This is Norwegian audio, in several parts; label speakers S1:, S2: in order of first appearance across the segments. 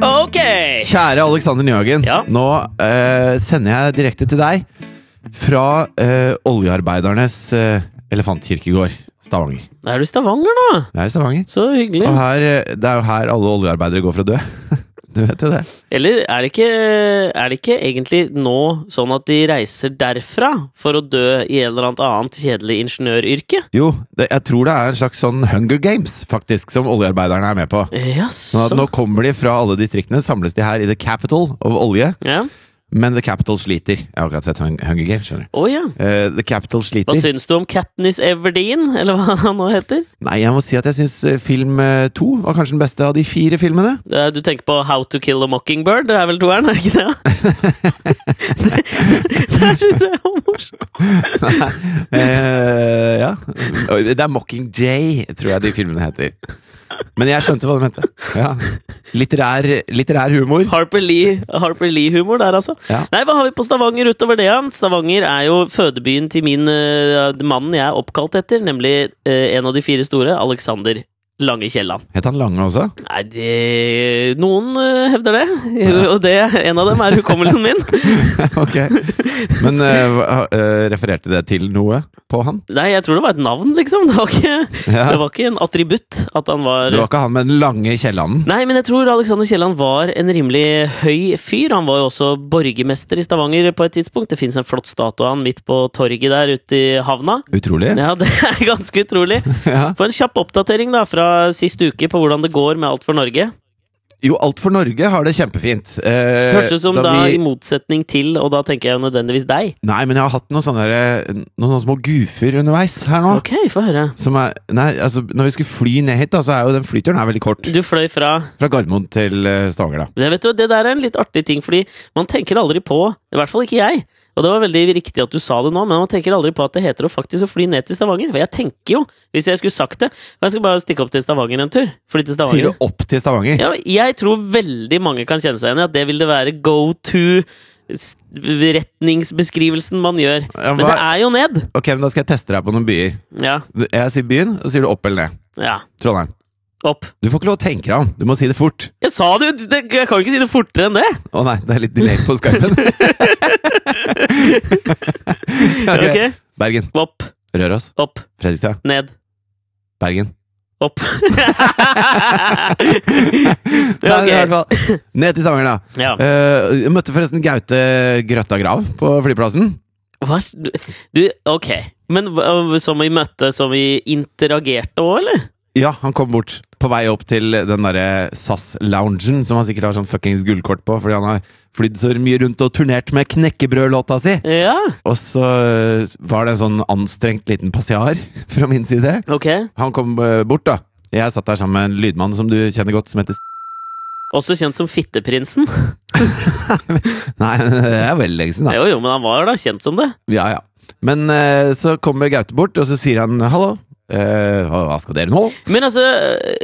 S1: Ok!
S2: Kjære Alexander Nyhagen,
S1: Ja.
S2: nå eh, sender jeg direkte til deg fra eh, oljearbeidernes eh, elefantkirkegård, Stavanger.
S1: Da er du i Stavanger, da.
S2: Det er i Stavanger.
S1: Så hyggelig.
S2: Og her, eh, det er jo her alle oljearbeidere går for å dø. Du vet jo det.
S1: Eller er det, ikke, er det ikke egentlig nå sånn at de reiser derfra for å dø i et eller annet annet kjedelig ingeniøryrke?
S2: Jo, det, jeg tror det er en slags sånn Hunger Games, faktisk, som oljearbeiderne er med på. Sånn
S1: Jaså.
S2: at nå kommer de fra alle distriktene, samles de her i the capital of olje.
S1: Ja.
S2: Men the capital sliter. Jeg har akkurat sett Hun- Hunger Games, skjønner du.
S1: Å ja.
S2: Eh, the capital sliter.
S1: Hva syns du om Katniss Everdeen, eller hva han nå heter?
S2: Nei, jeg må si at jeg syns film eh, to var kanskje den beste av de fire filmene.
S1: Eh, Du tenker på How to Kill a Mockingbird? Det er vel toeren, er det ikke det? det det syns jeg var morsomt.
S2: Eh, ja. Oi, Det er Mockingjay, tror jeg de filmene heter. Men jeg skjønte hva du mente. Ja. Litterær, litterær humor.
S1: Harper Lee- Harper Lee-humor der, altså.
S2: Ja.
S1: Nei, hva har vi på Stavanger utover det? Jan? Stavanger er jo fødebyen til min eh, mannen jeg er oppkalt etter, nemlig eh, en av de fire store, Alexander Lange Kielland.
S2: Het han Lange også?
S1: Nei, det, noen eh, hevder det, og det, en av dem er hukommelsen min.
S2: ok. Men eh, hva- eh, refererte det til noe på han?
S1: Nei, jeg tror det var et navn, liksom. Det var ikke,
S2: Ja.
S1: det var ikke en attributt at han var
S2: Det var ikke han med den lange Kielland?
S1: Nei, men jeg tror Alexander Kielland var en rimelig høy fyr. Han var jo også borgermester i Stavanger på et tidspunkt. Det fins en flott statue av han midt på torget der ute i havna.
S2: Utrolig.
S1: Ja, det er ganske utrolig.
S2: Ja.
S1: Få en kjapp oppdatering da fra sist uke på hvordan det går med Alt for Norge.
S2: Jo, Alt for Norge har det kjempefint. Eh,
S1: Høres ut som da,
S2: vi-
S1: i motsetning til, og da tenker jeg jo nødvendigvis deg.
S2: Nei, men jeg har hatt noen sånne, der, eh, noen sånne små gufer underveis her nå.
S1: Ok, få høre.
S2: Som er, nei, altså, når vi skulle fly ned hit, da, så er jo den flyturen her veldig kort.
S1: Du fløy fra
S2: Fra Gardermoen til eh, Stavanger, da.
S1: Det, vet du, det der er en litt artig ting, fordi man tenker aldri på I hvert fall ikke jeg. Og det var veldig riktig at du sa det nå, men man tenker aldri på at det heter å faktisk å fly ned til Stavanger. For jeg tenker jo, hvis jeg skulle sagt det for Jeg skal bare stikke opp til Stavanger en tur. Fly til
S2: Sier
S1: Stavanger.
S2: du opp til Stavanger?
S1: Ja, jeg tror veldig mange kan kjenne seg igjen i at det vil det være go to retningsbeskrivelsen man gjør.
S2: Ja,
S1: Men
S2: hva-
S1: det er jo ned.
S2: Ok, men Da skal jeg teste deg på noen byer.
S1: Ja.
S2: Du- Jeg sier byen, og så sier du opp eller ned.
S1: ja.
S2: Trondheim.
S1: Opp.
S2: Du får ikke lov å tenke deg om. Du må si det fort.
S1: Jeg sa det jo! det- Jeg kan jo ikke si det fortere enn det!
S2: Å nei, det er litt delay på skypen.
S1: Ok.
S2: Bergen.
S1: Opp,
S2: Røros.
S1: opp,
S2: Fredrikstad.
S1: ned.
S2: Bergen.
S1: Opp.
S2: Nei,
S1: Ok.
S2: i hvert fall. Ned til Stavanger, da.
S1: Ja.
S2: Eh, jeg møtte forresten Gaute Grøtta Grav på flyplassen.
S1: Hva? s- Du, ok. Men hva- eh, som vi møtte, som vi interagerte òg, eller?
S2: Ja, han kom bort på vei opp til den derre SAS-loungen, som han sikkert har sånn fuckings gullkort på, fordi han har flydd så mye rundt og turnert med knekkebrødlåta si.
S1: Ja,
S2: Og så eh, var det en sånn anstrengt liten passiar fra min side.
S1: ok.
S2: Han kom eh, bort, da. Jeg satt der sammen med en lydmann som du kjenner godt, som heter S-
S1: Også kjent som Fitteprinsen.
S2: Nei, det er veldig lenge siden, da.
S1: Jo, jo, men han var da kjent som det.
S2: Ja, ja. Men eh, så kommer Gaute bort, og så sier han hallo. eh, hva hva skal dere nå?
S1: Men altså,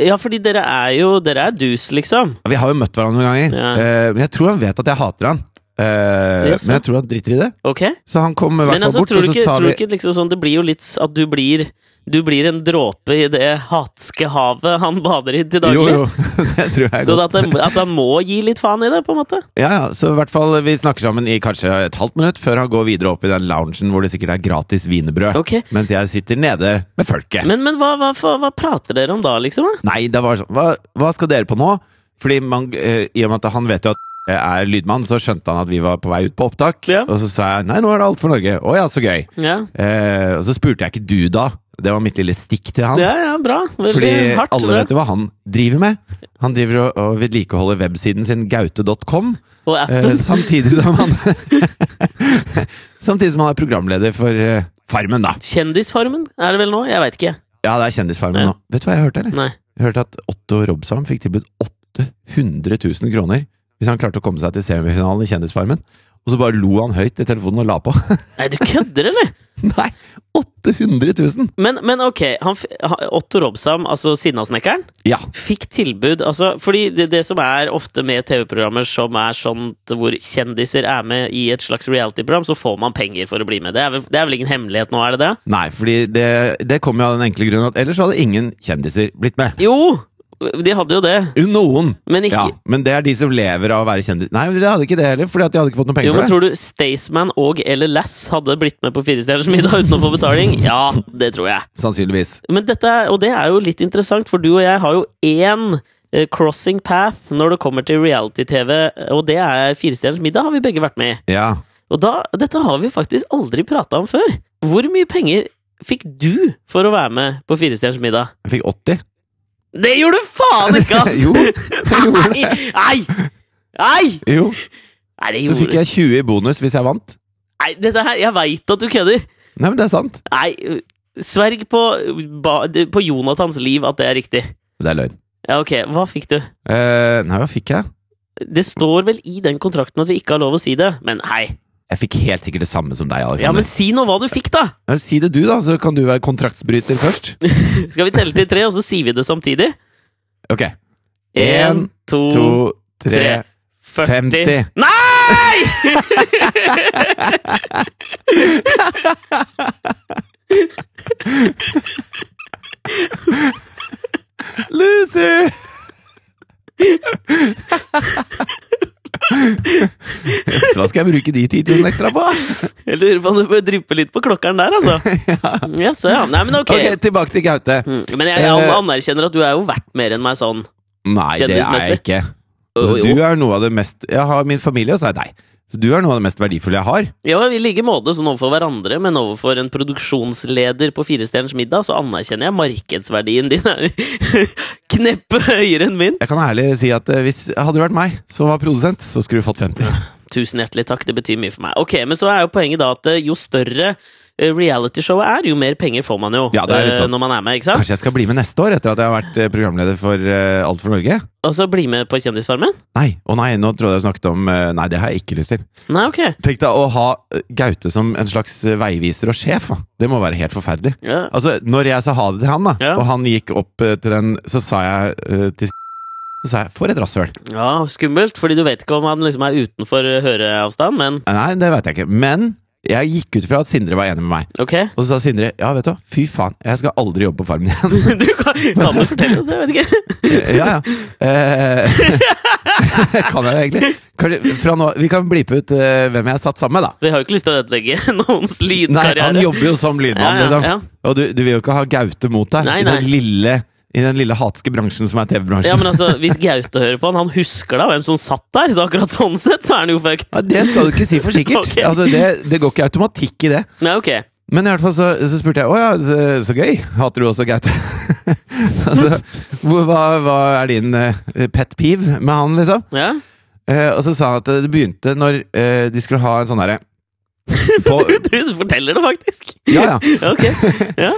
S1: ja, fordi dere er jo Dere er dus, liksom.
S2: Vi har jo møtt hverandre noen ganger,
S1: Ja.
S2: eh, men jeg tror han vet at jeg hater han. Eh,
S1: Jaså.
S2: men jeg tror han driter i det.
S1: Ok?
S2: Så han kom i hvert
S1: Men
S2: fall
S1: altså,
S2: bort,
S1: tror du
S2: og så
S1: ikke,
S2: sa
S1: tror du
S2: vi
S1: ikke liksom sånn Det blir jo litt s- at du blir du blir en dråpe i det hatske havet han bader i til daglig.
S2: Jo, jo, det tror jeg
S1: Så
S2: godt.
S1: at han, at han må gi litt faen i det, på en måte.
S2: Ja, ja, så i hvert fall eh, vi snakker sammen i kanskje et halvt minutt før han går videre opp i den loungen hvor det sikkert er gratis wienerbrød.
S1: Ok.
S2: Mens jeg sitter nede med folket.
S1: Men, men hva, hva, hva, hva prater dere om da, liksom? da?
S2: Nei, det var sånn Hva, hva skal dere på nå? Fordi man, eh, i og med at han vet jo at jeg er lydmann, så skjønte han at vi var på vei ut på opptak.
S1: Ja.
S2: Og så sa jeg nei, nå er det alt for Norge. Å ja, så gøy.
S1: Ja,
S2: Eh, og så spurte jeg ikke du da. Det var mitt lille stikk til han.
S1: ja, ja bra. Veldig
S2: Fordi
S1: hardt.
S2: alle
S1: det.
S2: vet jo hva han driver med. Han driver og, og vedlikeholder websiden sin gaute.com,
S1: Og
S2: eh,
S1: appen.
S2: samtidig som han Samtidig som han er programleder for eh, Farmen, da.
S1: Kjendisfarmen er det vel nå? Jeg veit ikke.
S2: Ja, det er Kjendisfarmen
S1: Ja.
S2: nå. Vet du hva jeg hørte, eller?
S1: Nei.
S2: Jeg hørte at Otto Robsam fikk tilbudt 800 000 kroner hvis han klarte å komme seg til semifinalen i Kjendisfarmen. Og så bare lo han høyt i telefonen og la på.
S1: Nei, du kødder, eller?
S2: Nei! 800 000!
S1: Men, men ok, han, f- ha- Otto Robsam, altså Sinnasnekkeren,
S2: Ja.
S1: fikk tilbud altså, Fordi det, det som er ofte med TV-programmer som er sånt hvor kjendiser er med i et slags reality-program, så får man penger for å bli med. Det er vel, det er vel ingen hemmelighet nå, er det det?
S2: Nei, fordi det, det kom jo av den enkle grunnen at ellers hadde ingen kjendiser blitt med.
S1: Jo! De hadde jo det.
S2: Jo, Noen!
S1: Men ikke
S2: Ja, men det er de som lever av å være kjendis. Nei, men de hadde ikke det heller, fordi at de hadde ikke fått noe
S1: Jo,
S2: penger
S1: men
S2: for det.
S1: Tror du Staysman og eller Lass hadde blitt med på Firestjerners middag uten å få betaling? Ja, det tror jeg.
S2: Sannsynligvis.
S1: Men dette, er- og det er jo litt interessant, for du og jeg har jo én eh, crossing path når det kommer til reality-TV, og det er Firestjerners middag, har vi begge vært med i.
S2: Ja.
S1: Og da, dette har vi faktisk aldri prata om før. Hvor mye penger fikk du for å være med på Firestjerners middag?
S2: Jeg fikk 80.
S1: Det gjorde du faen ikke, ass!
S2: Jo, jeg gjorde det.
S1: Nei! Nei!
S2: Jo,
S1: Nei, det
S2: så
S1: gjorde
S2: fikk jeg 20 i bonus hvis jeg vant.
S1: Nei, dette her, jeg veit at du kødder!
S2: Nei, men det er sant.
S1: Nei, øh, sverg på, ba, det- på Jonathans liv at det er riktig.
S2: Det er løgn.
S1: Ja, ok, hva fikk du?
S2: Eh, nei, hva fikk jeg?
S1: Det står vel i den kontrakten at vi ikke har lov å si det, men hei.
S2: Jeg fikk helt sikkert det samme som deg,
S1: Ja, men
S2: Alexander.
S1: si nå hva du fikk, da!
S2: Ja, Si det du, da, så kan du være kontraktsbryter først.
S1: Skal vi telle til tre, og så sier vi det samtidig?
S2: Ok. En,
S1: En, to,
S2: To, tre,
S1: tre, 40
S2: femti.
S1: Nei!
S2: Loser! Yes, Hva skal jeg bruke de 10 000 ekstra på?
S1: Jeg lurer på om du bør dryppe litt på klokkeren der, altså. ja. så ja. Nei, men ok.
S2: Ok, tilbake til Gaute.
S1: Mm, Men jeg, jeg
S2: Eh.
S1: anerkjenner at du er jo verdt mer enn meg sånn.
S2: Nei, det er jeg
S1: Kjendismessig.
S2: ikke.
S1: Jo,
S2: Altså,
S1: jo.
S2: du er noe av det mest Jeg har min familie, og så er jeg deg. Så du er noe av det mest verdifulle jeg har.
S1: Ja, I like måte sånn overfor hverandre, men overfor en produksjonsleder på Firestjerners middag, så anerkjenner jeg markedsverdien din er kneppe høyere enn min.
S2: Jeg kan ærlig si at eh, hvis hadde det vært meg som var produsent, så skulle du fått 50.
S1: Tusen hjertelig takk, det betyr mye for meg. Ok, Men så er jo poenget da at eh, jo større eh, realityshowet er, jo mer penger får man jo
S2: Ja, det er litt
S1: eh,
S2: sånn.
S1: når man er med. ikke sant?
S2: Kanskje jeg skal bli med neste år, etter at jeg har vært eh, programleder for eh, Alt for Norge?
S1: Og så Altså, bli med på Kjendisfarmen?
S2: Nei, å nei, nå trodde jeg du snakket om eh, Nei, det har jeg ikke lyst til.
S1: Nei, ok.
S2: Tenk deg å ha eh, Gaute som en slags eh, veiviser og sjef. da. Det må være helt forferdelig.
S1: Ja.
S2: Altså, når jeg sa ha det til han, da,
S1: Ja.
S2: og han gikk opp eh, til den, så sa jeg eh, til så sa jeg, For et rasshøl!
S1: ja, skummelt, fordi du vet ikke om han liksom er utenfor eh, høreavstand, men
S2: Nei, det veit jeg ikke. Men jeg gikk ut fra at Sindre var enig med meg.
S1: ok.
S2: Og så sa Sindre ja, vet du hva, fy faen, jeg skal aldri jobbe på Farmen igjen.
S1: Du kan, kan du fortelle det? Jeg vet ikke.
S2: ja, ja. Eh, kan jeg det egentlig? Kanskje, fra nå, vi kan blipe ut eh, hvem jeg satt sammen med, da.
S1: Vi har jo ikke lyst til å ødelegge noens
S2: Nei, han
S1: lydkarriere.
S2: jobber jo som lydmann,
S1: Ja, ja,
S2: liksom.
S1: ja.
S2: Og du, du vil jo ikke ha Gaute mot deg
S1: Nei,
S2: i
S1: nei.
S2: den lille i den lille hatske bransjen som er TV-bransjen.
S1: Ja, men altså, Hvis Gaute hører på han, han husker da hvem som satt der, så akkurat sånn sett så er han jo fucked.
S2: Ja, det skal du ikke si for sikkert.
S1: Ok.
S2: altså, det, det går ikke automatikk i det.
S1: Nei, ok.
S2: Men i hvert fall så, så spurte jeg Å ja, så, så gøy. Hater du også Gaute? altså, hvor, hva, hva er din eh, pet peeve med han, liksom?
S1: Ja.
S2: Eh, og så sa han at det begynte når eh, de skulle ha en sånn derre på-
S1: Du, du forteller det faktisk.
S2: Ja, ja.
S1: Ja, Ok. Ja.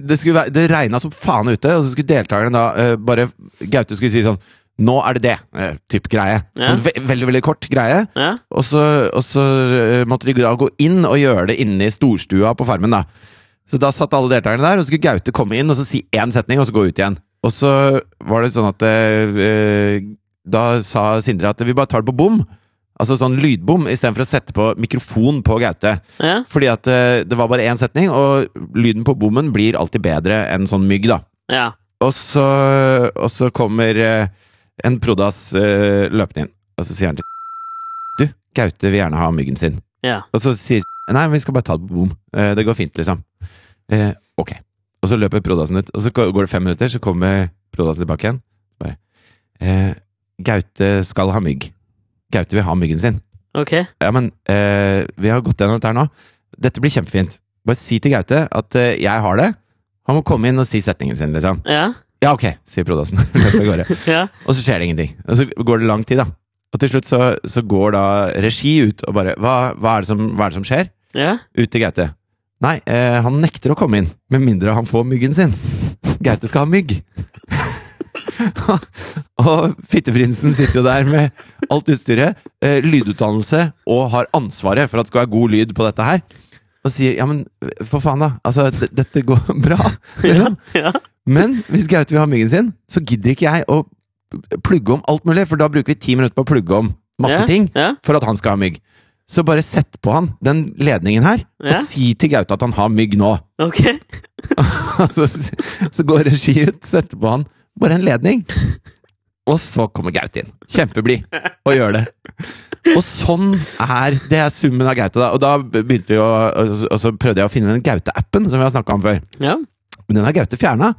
S2: Det, skulle være- det regna som faen ute, og så skulle deltakerne da eh, bare Gaute skulle si sånn Nå er det det! eh, typ greie.
S1: Ja.
S2: Ve veldig, veldig kort greie.
S1: Ja.
S2: Og så, og så eh, måtte de da gå inn og gjøre det inne i storstua på farmen. da. Så da satt alle deltakerne der, og så skulle Gaute komme inn og så si én setning, og så gå ut igjen. Og så var det sånn at eh, eh, Da sa Sindre at vi bare tar det på bom. Altså sånn lydbom, istedenfor å sette på mikrofon på Gaute.
S1: ja.
S2: Fordi at eh, det var bare én setning, og lyden på bommen blir alltid bedre enn sånn mygg, da.
S1: ja.
S2: Og så, og så kommer eh, en prodas eh, løpende inn, og så sier han til Du, Gaute vil gjerne ha myggen sin.
S1: Ja.
S2: Og så sier Nei, vi skal bare ta det på bom. Eh, det går fint, liksom. Eh, ok. Og så løper prodasen ut, og så går det fem minutter, så kommer prodasen tilbake igjen. Bare eh, Gaute skal ha mygg. Gaute vil ha myggen sin.
S1: Ok.
S2: Ja, men eh, vi har gått gjennom dette her nå. Dette blir kjempefint. Bare si til Gaute at eh, jeg har det. Han må komme inn og si setningen sin, liksom.
S1: Ja.
S2: Ja, ok, sier Prodasen. Løper av gårde.
S1: Ja.
S2: og så skjer det ingenting. Og så går det lang tid, da. Og til slutt så, så går da regi ut og bare hva, hva, er det som, hva er det som skjer?
S1: Ja.
S2: Ut til Gaute. Nei, eh, han nekter å komme inn, med mindre han får myggen sin. Gaute skal ha mygg. og fitteprinsen sitter jo der med alt utstyret, eh, lydutdannelse, og har ansvaret for at det skal være god lyd på dette her. Og sier ja, men for faen, da. Altså, d- dette går bra, liksom.
S1: ja.
S2: Men hvis Gaute vil ha myggen sin, så gidder ikke jeg å plugge om alt mulig, for da bruker vi ti minutter på å plugge om masse
S1: ja.
S2: ting
S1: Ja.
S2: for at han skal ha mygg. Så bare sett på han den ledningen her,
S1: Ja.
S2: og si til Gaute at han har mygg nå.
S1: Ok.
S2: så går regi ut, setter på han, Bare en ledning. Og så kommer Gaute inn. Kjempeblid. Og gjør det. Og sånn er Det er summen av Gaute, da. Og da begynte vi å Og så prøvde jeg å finne den Gaute-appen som vi har snakka om før.
S1: Ja,
S2: Men den har Gaute fjerna.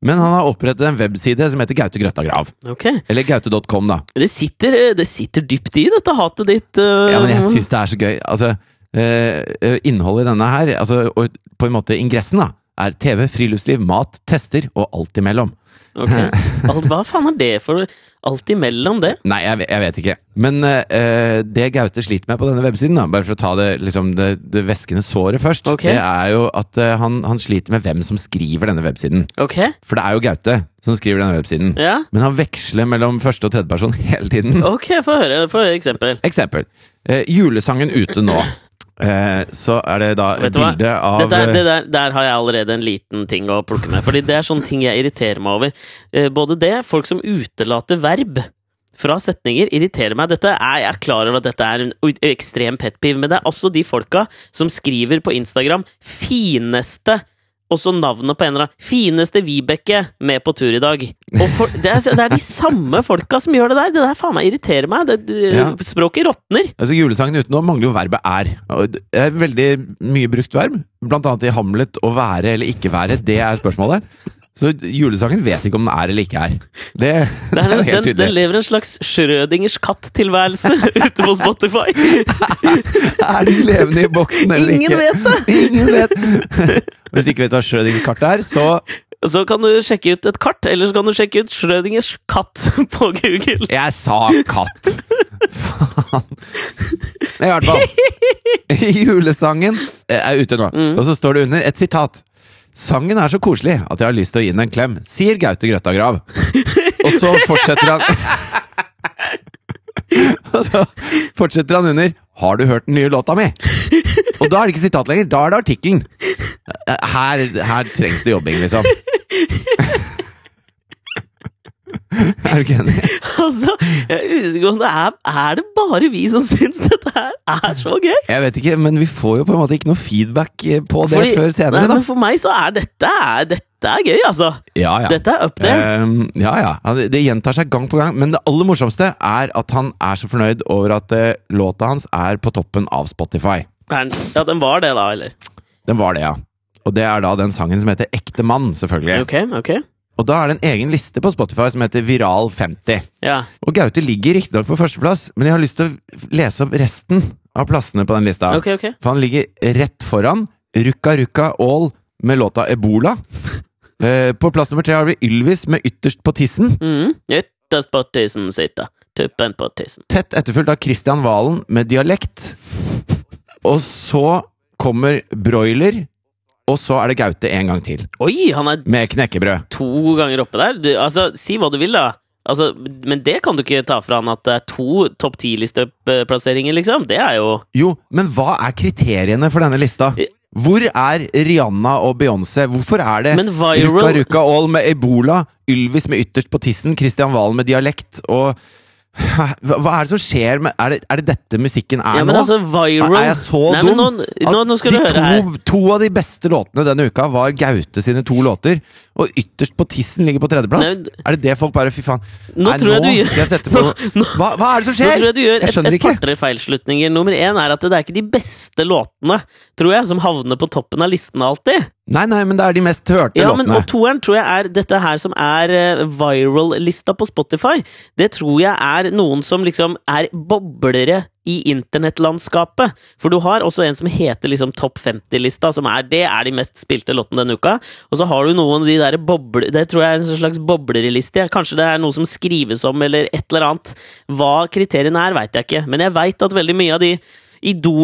S2: Men han har opprettet en webside som heter Gaute Grøtta Grav.
S1: ok.
S2: Eller gaute.com, da.
S1: Det sitter, eh, det sitter dypt i dette hatet ditt. øh,
S2: Ja, men jeg syns det er så gøy. Altså, eh, eh, innholdet i denne her, altså, og på en måte ingressen, da, er TV, friluftsliv, mat, tester og alt imellom.
S1: ok. Alt, hva faen er det for Alt imellom det?
S2: Nei, jeg, ve- jeg vet ikke. Men eh, eh, det Gaute sliter med på denne websiden, da, bare for å ta det, liksom, det, det væskende såret først,
S1: Ok.
S2: det er jo at eh, han, han sliter med hvem som skriver denne websiden.
S1: Ok,
S2: For det er jo Gaute som skriver denne websiden.
S1: ja.
S2: Men han veksler mellom første og tredje person hele tiden.
S1: Ok, få høre, få høre eksempel.
S2: Eksempel. Eh, julesangen ute nå. Eh, så er det da
S1: Vet
S2: et
S1: du hva?
S2: bilde av eh,
S1: Dette er, det der, der har jeg allerede en liten ting å plukke med. Fordi det er sånne ting jeg irriterer meg over. Eh, Både det, folk som utelater verb fra setninger, irriterer meg. Dette er, jeg er klar over at dette er en u- ekstrem pet peeve, men det er også de folka som skriver på Instagram 'fineste' også navnet på en eller annen 'fineste Vibeke med på tur i dag'. Og for, det, er, det er de samme folka som gjør det der! Det der faen meg irriterer meg! Det, det,
S2: Ja.
S1: Språket råtner!
S2: Altså Julesangen utenom mangler jo verbet er. Og Det er et veldig mye brukt verb. Blant annet i Hamlet å være eller ikke være. Det er spørsmålet. Så julesangen vet ikke om den er eller ikke er. Det, det
S1: Det
S2: er
S1: er
S2: jo
S1: en,
S2: helt
S1: den, den
S2: tydelig.
S1: lever en slags Schrødingers katt-tilværelse ute på Spotify.
S2: Er de levende i boksen eller
S1: Ingen
S2: ikke?
S1: vet det!
S2: Ingen vet Hvis du ikke vet hva Schrødingers kart er, så
S1: Så kan du sjekke ut et kart, eller så kan du sjekke ut Schrødingers katt på Google.
S2: Jeg sa katt! Faen. I hvert fall. Julesangen er ute nå, og så står det under et sitat. Sangen er så koselig at jeg har lyst til å gi den en klem, sier Gaute Grøtta Grav. Og så fortsetter han Og så fortsetter han under 'Har du hørt den nye låta mi?' Og da er det ikke sitat lenger, da er det artikkelen. Her, her trengs det jobbing, liksom. Er du ikke enig?
S1: Altså, jeg er usikker på om det er Er det bare vi som syns dette her er så gøy?
S2: Jeg vet ikke, men vi får jo på en måte ikke noe feedback eh, på det
S1: Fordi-
S2: før senere,
S1: nei, men for meg så er dette, er, dette er gøy, altså.
S2: da. Ja, ja.
S1: Dette er up there.
S2: Ehm, ja, ja. Ja, Det, det gjentar seg gang på gang, men det aller morsomste er at han er så fornøyd over at eh, låta hans er på toppen av Spotify.
S1: Er den- Ja, den var det, da, eller?
S2: Den var det, ja. Og det er da den sangen som heter Ekte mann, selvfølgelig.
S1: Ok, ok.
S2: Og da er det en egen liste på Spotify som heter Viral 50.
S1: Ja.
S2: Og Gaute ligger riktignok på førsteplass, men jeg har lyst til å lese opp resten av plassene på den lista.
S1: Ok, ok.
S2: For han ligger rett foran Rukka Rukka All med låta Ebola. Eh, på plass nummer tre har vi Ylvis med Ytterst på tissen.
S1: Mm. Ytterst på tissen sitter tuppen på tissen.
S2: Tett etterfulgt av Christian Valen med Dialekt. Og så kommer Broiler, og så er det Gaute en gang til.
S1: Oi, han er
S2: Med knekkebrød.
S1: to ganger oppe der. Du, altså, si hva du vil, da. Altså, men det kan du ikke ta fra han at det er to topp ti-listeplasseringer, liksom. Det er jo
S2: Jo, men hva er kriteriene for denne lista? Hvor er Rihanna og Beyoncé? Hvorfor er det
S1: Men viral-
S2: Rukka Rukka All med ebola, Ylvis med ytterst på tissen, Christian Valen med dialekt og Hæ, Hva hva er det som skjer med Er det, er det dette musikken er
S1: Ja, men
S2: nå?
S1: altså, viral
S2: er jeg så
S1: Nei, men
S2: dum?
S1: Nå, nå, nå skal
S2: at
S1: du
S2: de
S1: høre her.
S2: to, to av de beste låtene denne uka var Gaute sine to låter, og ytterst på tissen ligger på tredjeplass?
S1: Nei,
S2: er det det folk bare Fy faen.
S1: Nå
S2: Nei,
S1: tror jeg
S2: nå
S1: du gjør-
S2: skal jeg sette på hva, hva er det som
S1: Nå
S2: skjer?
S1: tror jeg du gjør
S2: Jeg
S1: et,
S2: skjønner
S1: et
S2: ikke.
S1: par-tre feilslutninger. Nummer én er at det er ikke de beste låtene, tror jeg, som havner på toppen av listen alltid.
S2: Nei, nei, men det er de mest hørte
S1: Ja, men
S2: låtene.
S1: Og toeren tror jeg er dette her som er eh, viral-lista på Spotify. Det tror jeg er noen som liksom er boblere i internettlandskapet. For du har også en som heter liksom Topp 50-lista, som er det er de mest spilte låtene denne uka. Og så har du noen av de der bobler... Det tror jeg er en sånn slags boblereliste. ja. Kanskje det er noe som skrives om, eller et eller annet. Hva kriteriene er, veit jeg ikke. Men jeg veit at veldig mye av de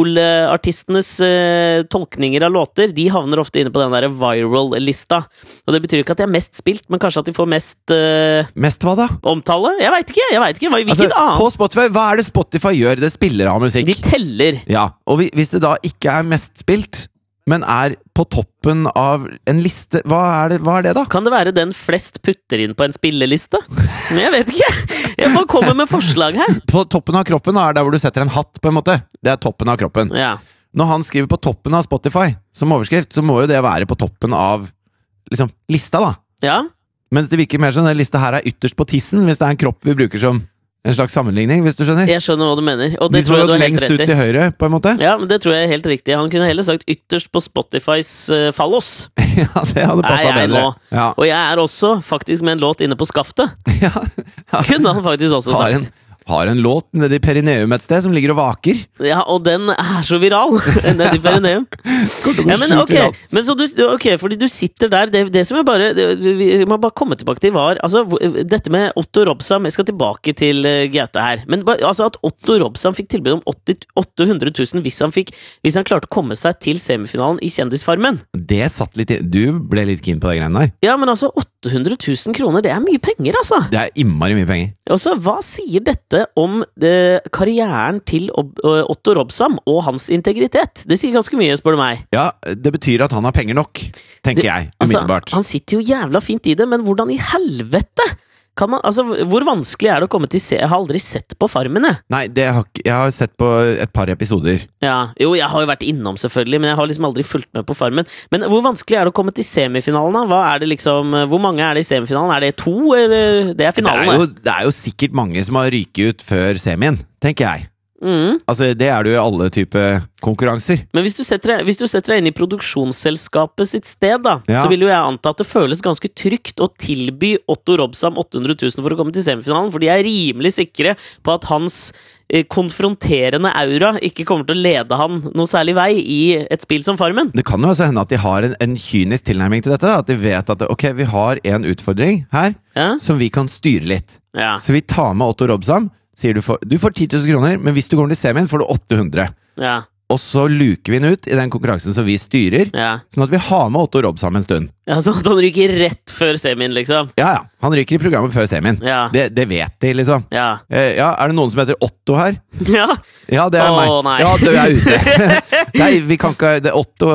S1: Idol-artistenes eh, tolkninger av låter De havner ofte inne på den der viral-lista. Og Det betyr ikke at de er mest spilt, men kanskje at de får mest eh,
S2: Mest hva da? omtale?
S1: omtale? Jeg veit ikke! jeg vet ikke, Hva- Hvilket
S2: Altså,
S1: annet?
S2: på Spotify, hva er det Spotify gjør? Det spiller av musikk.
S1: De teller.
S2: Ja, og vi, hvis det da ikke er mest spilt, men er på toppen av en liste, hva er det, hva er det da?
S1: Kan det være den flest putter inn på en spilleliste? Men jeg vet ikke! Jeg bare kommer med forslag her.
S2: På toppen av kroppen da, er der hvor du setter en hatt, på en måte. Det er toppen av kroppen.
S1: Ja.
S2: Når han skriver på toppen av Spotify som overskrift, så må jo det være på toppen av liksom, lista, da.
S1: ja.
S2: Mens det virker mer som den lista her er ytterst på tissen, hvis det er en kropp vi bruker som en slags sammenligning, hvis du skjønner.
S1: Jeg skjønner hva du mener, og
S2: De
S1: det
S2: som
S1: tror
S2: har
S1: jeg du
S2: gått
S1: har helt
S2: lengst ut
S1: rett i.
S2: til høyre, på en måte.
S1: Ja, men det tror jeg er helt riktig. Han kunne heller sagt ytterst på Spotifys eh, Fallos.
S2: Ja, det hadde
S1: Nei,
S2: passa
S1: jeg
S2: bedre.
S1: nå.
S2: Ja.
S1: Og jeg er også faktisk med en låt inne på skaftet.
S2: Ja.
S1: Kunne han faktisk også
S2: Har
S1: sagt.
S2: en, har en låt nede i perineum et sted som ligger og vaker.
S1: Ja, og den er så viral! Den i perineum.
S2: Kommer til å bli
S1: Ja, men
S2: sjukt
S1: ok,
S2: viralt.
S1: men så du, ok, fordi du sitter der Det, det som jeg bare det, Vi må bare komme tilbake til var altså, hvor- Dette med Otto Robsam Jeg skal tilbake til eh, Gaute her Men ba- altså at Otto Robsam fikk tilbud om 80, 800 000 hvis han, fikk, hvis han klarte å komme seg til semifinalen i Kjendisfarmen
S2: Det satt litt i Du ble litt keen på de greiene der.
S1: Ja, men altså 800 000 kroner Det er mye penger altså
S2: Det er innmari mye penger.
S1: Altså, hva sier dette om eh, karrieren til Ob eh, Otto Robsam og hans integritet? Det sier ganske mye, spør du meg.
S2: Ja, Det betyr at han har penger nok, tenker
S1: Det-
S2: jeg.
S1: Altså,
S2: Umiddelbart.
S1: han sitter jo jævla fint i det, men hvordan i helvete? Kan man, altså, hvor vanskelig er det å komme til se... Jeg har aldri sett på Farmen, jeg.
S2: Nei, det har, ikke- jeg har sett på et par episoder.
S1: Ja, jo, jeg har jo vært innom, selvfølgelig, men jeg har liksom aldri fulgt med på Farmen. Men hvor vanskelig er det å komme til semifinalen, da? Hva er det liksom, eh, hvor mange er det i semifinalen? Er det to, eller? Det er
S2: Det er,
S1: finalen,
S2: jo, det er jo sikkert mange som har ryket ut før semien, tenker jeg.
S1: Mhm.
S2: Altså, Det er det jo i alle typer konkurranser.
S1: Men hvis du setter deg, hvis du setter deg inn i produksjonsselskapet sitt sted, da,
S2: Ja.
S1: så vil jo jeg anta at det føles ganske trygt å tilby Otto Robsam 800 000 for å komme til semifinalen, for de er rimelig sikre på at hans eh, konfronterende aura ikke kommer til å lede han noe særlig vei i et spill som Farmen.
S2: Det kan jo også hende at de har en, en kynisk tilnærming til dette. da. At de vet at ok, vi har en utfordring her
S1: Ja?
S2: som vi kan styre litt.
S1: Ja.
S2: Så vi tar med Otto Robsam. Sier du, får, du får 10 000 kroner, men hvis du kommer til semien, får du 800.
S1: ja,
S2: Og så luker vi den ut i den konkurransen som vi styrer,
S1: ja.
S2: sånn at vi har med Otto Robsam en stund.
S1: ja så at han ryker rett før semien, liksom.
S2: Ja, ja. Han ryker i programmet før semien.
S1: Ja.
S2: Det, det vet de, liksom.
S1: Ja.
S2: Eh, ja, er det noen som heter Otto her?
S1: ja.
S2: Ja, det er
S1: Å,
S2: meg.
S1: nei.
S2: Ja, du er ute. nei, vi kan ikke det, Otto,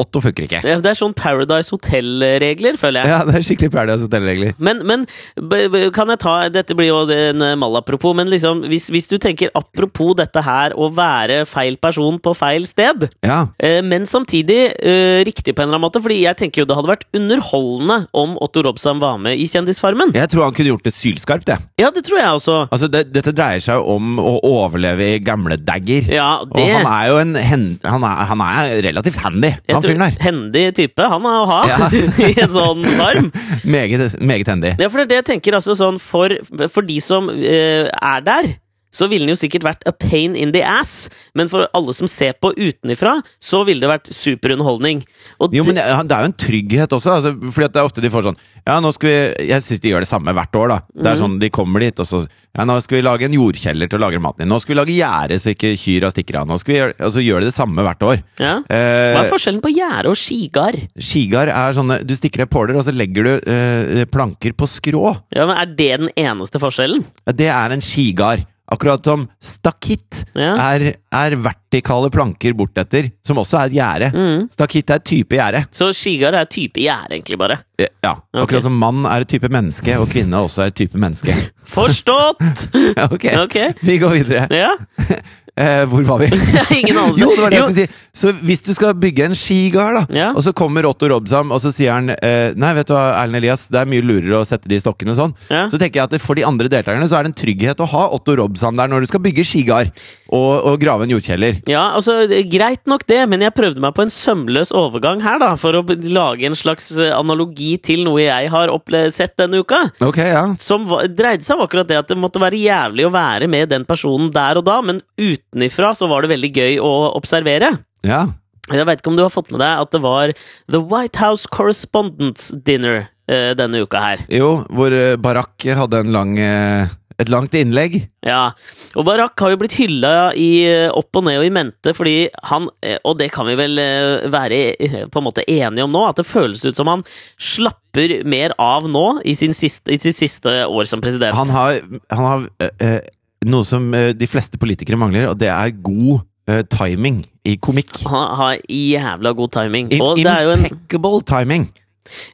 S2: Otto funker ikke.
S1: Det er sånn Paradise Hotel-regler, føler jeg.
S2: Ja, det er skikkelig altså, Paradise Hotel-regler.
S1: Men, men b- b- kan jeg ta Dette blir jo en eh, malapropos, men liksom, hvis, hvis du tenker apropos dette her å være feil person på feil sted,
S2: Ja.
S1: eh, men samtidig eh, riktig på en eller annen måte, fordi jeg tenker jo det hadde vært underholdende om Otto Robsam var med i Kjendisfarmen.
S2: Jeg tror han kunne gjort det sylskarpt, det.
S1: Ja, det tror jeg også.
S2: Altså, det, dette dreier seg jo om å overleve i gamle dagger.
S1: Ja,
S2: Og
S1: det
S2: han er jo en hen, han, er, han er relativt handy,
S1: jeg
S2: han
S1: tror-
S2: fyren der.
S1: Hendig type han er å ha
S2: Ja.
S1: i en sånn farm.
S2: Meget, meget handy.
S1: Ja, for det er det jeg tenker altså sånn For, for de som eh, er der så ville den jo sikkert vært a pain in the ass, men for alle som ser på utenifra, så ville det vært superunderholdning. Og
S2: Jo, men
S1: det,
S2: det det er jo en trygghet også, altså, fordi at det er ofte de får sånn Ja, nå skal vi Jeg syns de gjør det samme hvert år, da. Det
S1: Mhm.
S2: er sånn, De kommer dit, og så Ja, nå skal vi lage en jordkjeller til å lagre maten i. Nå skal vi lage gjerde så ikke kyrne stikker av. Nå skal vi gjøre Altså gjør de det samme hvert år.
S1: ja. Hva
S2: Eh,
S1: er forskjellen på gjerde og skigard?
S2: Skigard er sånne Du stikker ned påler, og så legger du eh, planker på skrå.
S1: Ja, men Er det den eneste forskjellen?
S2: Ja, Det er en skigard. Akkurat som stakitt
S1: Ja.
S2: er, er vertikale planker bortetter, som også er et gjerde.
S1: Mm.
S2: Stakitt er et type gjerde.
S1: Så skigard er type gjerde, egentlig, bare.
S2: Eh, Ja, akkurat som mann er et type menneske, og kvinne også er et type menneske.
S1: Forstått!
S2: Ok,
S1: Ok.
S2: vi går videre.
S1: Ja,
S2: Eh, hvor var vi?
S1: Ingen anelse.
S2: Jo, det var det
S1: Jo.
S2: jeg skulle si. Så hvis du skal bygge en skigard, da,
S1: Ja.
S2: og så kommer Otto Robsam, og så sier han eh, Nei, vet du hva, Erlend Elias, det er mye lurere å sette de stokkene og sånn.
S1: Ja.
S2: Så tenker jeg at det- for de andre deltakerne så er det en trygghet å ha Otto Robsam der når du skal bygge skigard og, og grave en jordkjeller.
S1: ja altså, det er Greit nok det, men jeg prøvde meg på en sømløs overgang her, da, for å b- lage en slags eh, analogi til noe jeg har opple sett denne uka.
S2: Ok, ja.
S1: som var, dreide seg om akkurat det at det måtte være jævlig å være med den personen der og da, men utenifra så var det veldig gøy å observere.
S2: ja.
S1: Jeg veit ikke om du har fått med deg at det var The White House Correspondence Dinner eh, denne uka her.
S2: Jo, hvor eh, Barack hadde en lang, eh, et langt innlegg.
S1: Ja, og Barack har jo blitt hylla i eh, opp og ned og i mente, fordi han, eh, og det kan vi vel eh, være eh, på en måte enige om nå, at det føles ut som han slapper mer av nå i, sin siste, i sitt siste år som president.
S2: Han har, han har eh, eh, noe som eh, de fleste politikere mangler, og det er god eh, timing i komikk.
S1: Han har jævla god timing.
S2: I-
S1: Og det er jo en
S2: impeccable timing!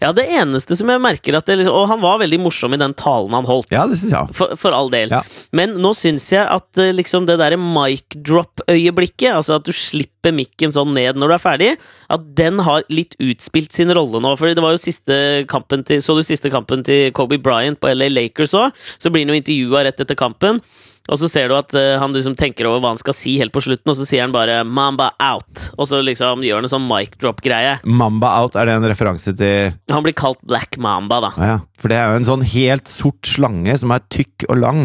S1: Ja, det eneste som jeg merker at det liksom, Og han var veldig morsom i den talen han holdt.
S2: Ja, det syns jeg.
S1: For, for all del.
S2: Ja.
S1: Men nå syns jeg at eh, liksom det derre mic drop-øyeblikket, altså at du slipper slipper mikken sånn ned når du er ferdig, at den har litt utspilt sin rolle nå. Fordi det var jo siste kampen til, Så du siste kampen til Kobe Bryant på LA Lakers òg? Så blir han jo intervjua rett etter kampen, og så ser du at eh, han liksom tenker over hva han skal si helt på slutten, og så sier han bare 'Mamba out', og så liksom gjør han en sånn mic drop-greie.
S2: Mamba out, er det en referanse til
S1: Han blir kalt Black Mamba, da.
S2: ah, ja. For det er jo en sånn helt sort slange som er tykk og lang.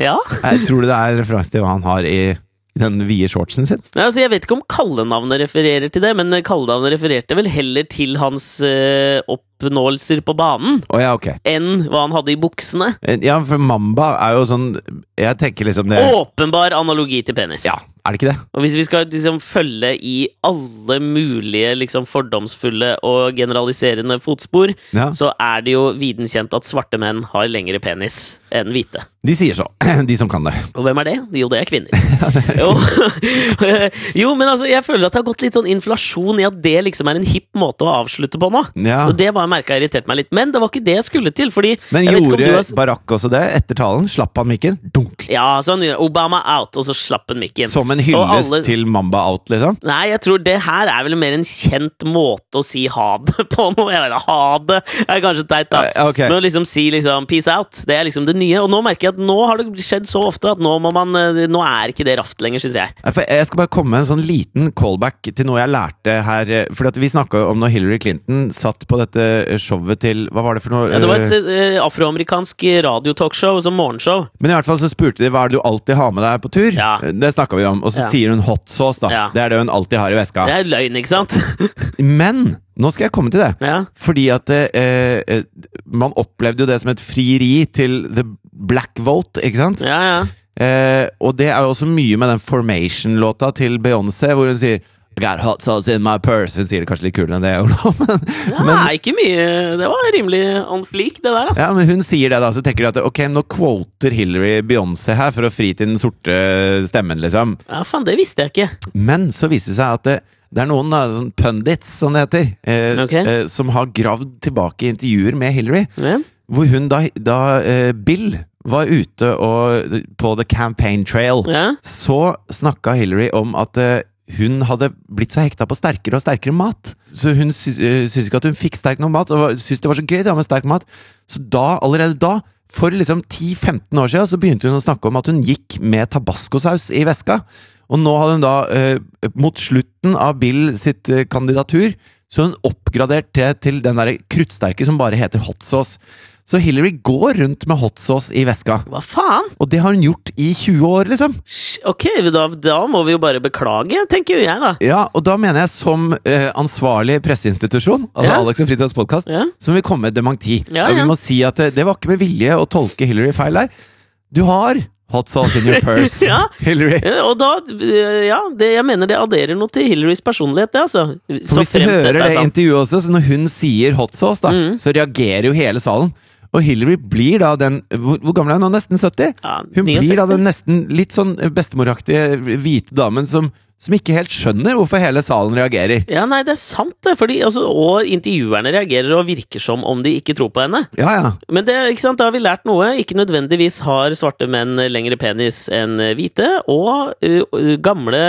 S1: Ja?
S2: Jeg tror det er en referanse til hva han har i den vide shortsen sin.
S1: Nei, altså, jeg vet ikke om kallenavnet refererer til det, men kallenavnet refererte vel heller til hans eh, oppnåelser på banen
S2: Å ja, ok. Eh,
S1: enn hva han hadde i buksene.
S2: Ja, for mamba er jo sånn Jeg tenker liksom det
S1: Åpenbar analogi til penis.
S2: Ja, er det ikke det?
S1: Og hvis vi skal liksom følge i alle mulige liksom fordomsfulle og generaliserende fotspor,
S2: Ja.
S1: så er det jo viden kjent at svarte menn har lengre penis enn hvite.
S2: De sier så, de som kan det.
S1: Og hvem er det? Jo, det er kvinner. jo. jo, men altså, jeg føler at det har gått litt sånn inflasjon i at det liksom er en hipp måte å avslutte på nå.
S2: Ja.
S1: Og det bare merka irriterte meg litt. Men det var ikke det jeg skulle til, fordi
S2: Ah. Men
S1: jeg vet ikke om
S2: gjorde
S1: du har...
S2: Barack også det? Etter talen slapp han mikken. Dunk!
S1: Ja, så han gjør Obama out, og så slapp han mikken.
S2: Som en
S1: Og
S2: hyllest
S1: alle-
S2: til Mamba Out, liksom.
S1: Nei, jeg tror det her er vel mer en kjent måte å si ha det på nå. Jeg vet, ha det er kanskje teit, da.
S2: Eh, ok.
S1: Men å liksom si liksom peace out, det er liksom det nye. Og nå merker jeg at nå har det skjedd så ofte at nå, må man, eh, nå er ikke det raft lenger, syns jeg.
S2: Nei, For jeg skal bare komme med en sånn liten callback til noe jeg lærte her. eh, Fordi at Vi snakka om når Hillary Clinton satt på dette eh, showet til Hva var det for noe?
S1: Ja, det var et
S2: eh,
S1: eh, afroamerikansk radiotalkshow som morgenshow.
S2: Men i hvert fall så spurte de hva er det du alltid har med deg på tur. Eh,
S1: Ja.
S2: Det snakka vi om. Og så
S1: Ja.
S2: sier hun hot sauce, da.
S1: Ja.
S2: Det er det hun alltid har i veska.
S1: Det er løgn, ikke sant?
S2: Men nå skal jeg komme til det.
S1: ja.
S2: Fordi at eh, eh, man opplevde jo det som et frieri til the black vote, ikke sant?
S1: ja, ja.
S2: Eh, og det er jo også mye med den Formation-låta til Beyoncé, hvor hun sier I got hot sauce in my purse. Hun sier det kanskje litt kulere enn det jeg gjorde nå, men,
S1: Ja, ikke mye Det var rimelig on fleak, det der, altså.
S2: ja, men hun sier det, da. Så tenker de at ok, nå quoter Hillary Beyoncé her for å fri til den sorte stemmen, liksom.
S1: Ja, faen, det visste jeg ikke.
S2: Men så viser det seg at det, det er noen da, sånn pundits, som det heter, eh,
S1: Ok.
S2: eh, som har gravd tilbake i intervjuer med Hillary.
S1: Ja.
S2: Hvor hun da, da eh, Bill var ute og, på The Campaign Trail,
S1: Ja.
S2: så snakka Hillary om at eh, hun hadde blitt så hekta på sterkere og sterkere mat. Så hun sy eh, syntes ikke at hun fikk sterk nok mat, og var- syntes det var så gøy da med sterk mat. Så da, allerede da, for liksom 10-15 år siden, så begynte hun å snakke om at hun gikk med tabascosaus i veska. Og nå hadde hun da, eh, mot slutten av Bill sitt eh, kandidatur, så hun oppgradert det til den derre kruttsterke som bare heter hot sauce. Så Hillary går rundt med hot sauce i veska,
S1: Hva faen?
S2: og det har hun gjort i 20 år, liksom.
S1: Sj, Ok, da, da må vi jo bare beklage, tenker jo jeg, da.
S2: Ja, og da mener jeg som eh, ansvarlig presseinstitusjon, altså
S1: Ja.
S2: Alex og Fritjofs podkast,
S1: Ja.
S2: som vil komme med et dementi.
S1: Ja,
S2: Og
S1: ja.
S2: vi må si at eh, det, det var ikke med vilje å tolke Hillary feil der. Du har hot sauce in your purse,
S1: Ja.
S2: Hillary.
S1: Eh, Og da eh, Ja, det, jeg mener det adderer noe til Hillarys personlighet, det, altså.
S2: For hvis du
S1: fremt
S2: hører
S1: dette er
S2: det
S1: sant. Mm.
S2: intervjuet også, så når hun sier hot sauce, da, så reagerer jo hele salen. Og Hillary blir da den Hvor, hvor gammel er hun nå? Nesten 70?
S1: Ja,
S2: Hun blir
S1: 69.
S2: da den nesten litt sånn bestemoraktige hvite damen som, som ikke helt skjønner hvorfor hele salen reagerer.
S1: Ja, nei, det er sant, det. Fordi, altså, og intervjuerne reagerer og virker som om de ikke tror på henne.
S2: Ja, ja.
S1: Men det, ikke sant, da har vi lært noe. Ikke nødvendigvis har svarte menn lengre penis enn hvite. Og ø, ø, gamle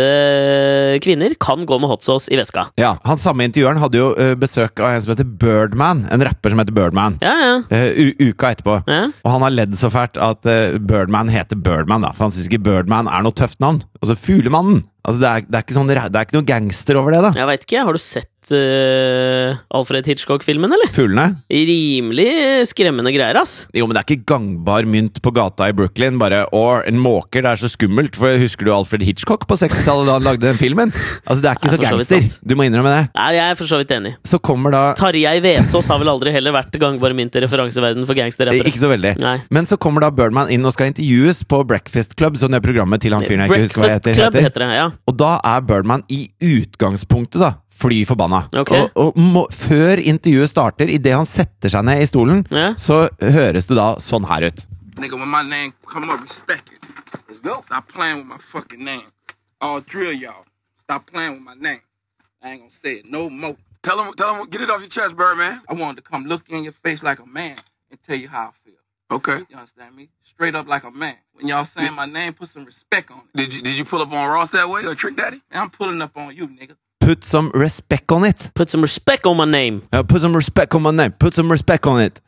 S1: hvite kvinner kan gå med hot sauce i veska.
S2: Ja, Han samme intervjueren hadde jo eh, besøk av en som heter Birdman. En rapper som heter Birdman.
S1: Ja, ja.
S2: eh, u uka etterpå.
S1: ja.
S2: Og han har ledd så fælt at eh, Birdman heter Birdman, da. For han syns ikke Birdman er noe tøft navn. Altså Fuglemannen. Altså, det, er, det, er ikke sånn, ra- det er ikke noe gangster over det, da.
S1: Jeg veit ikke. Har du sett ø, Alfred Hitchcock-filmen, eller?
S2: Fuglene.
S1: Rimelig skremmende greier, ass.
S2: Jo, men det er ikke gangbar mynt på gata i Brooklyn. Bare or en måker, det er så skummelt. For husker du Alfred Hitchcock på 60-tallet da han lagde den filmen? Altså, det er ikke
S1: Nei, for så
S2: så
S1: vidt
S2: gangster.
S1: sant.
S2: Du må innrømme det.
S1: Nei, jeg er for så vidt enig.
S2: Så kommer da
S1: Tarjei Vesaas har vel aldri heller vært gangbar mynt i referanseverden for gangsterrappere.
S2: Ikke så veldig.
S1: Nei.
S2: Men så kommer da Birdman inn og skal intervjues på Breakfast Club. Som det er programmet til han fyren jeg ikke husker hva
S1: Breakfast
S2: heter,
S1: Club
S2: heter.
S1: heter det, ja.
S2: Og da er Birdman i utgangspunktet da fly forbanna.
S1: Ok.
S2: Og, og må, før intervjuet starter, idet han setter seg ned i stolen,
S1: Ja.
S2: så høres det da sånn her ut.
S3: Nigga, when my name come up, respect it. Let's go. Stop playing with my fucking name. I'll drill y'all. Stop playing with my name. I ain't gonna say it no more.
S4: Tell him, tell him, get it off your chest, Birdman.
S3: I wanted to come look you in your face like a man and tell you how I feel.
S4: Okay.
S3: You understand me? Straight up like a man. When y'all saying my name, put some respect on it.
S4: Did you did you pull up on Ross that way or Trick Daddy?
S3: Man, I'm pulling up on you, nigga.
S2: Put some respect on it.
S1: Put some respect on my name.
S2: Ja, put some respect on my name. Put some respect on it.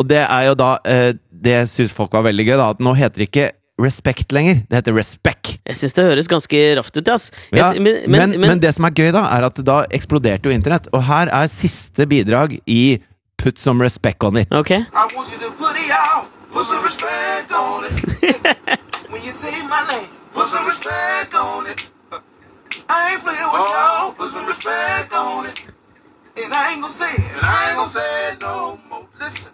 S2: Og det er jo da eh, Det syns folk var veldig gøy, da. At nå heter det ikke respect lenger. Det heter respect.
S1: Jeg syns det høres ganske raft ut, ass. Jeg,
S2: Ja,
S1: s-
S2: men, men, det som er gøy, da, er at da eksploderte jo internett. Og her er siste bidrag i Put some respect on it.
S1: Ok.
S3: I want you to put it out. Put some respect on it. Listen, when you say my name, put some respect on it. I ain't playing with y'all. Oh, Put some respect on it. And I ain't gonna say it. And I ain't gonna say it no more. Listen.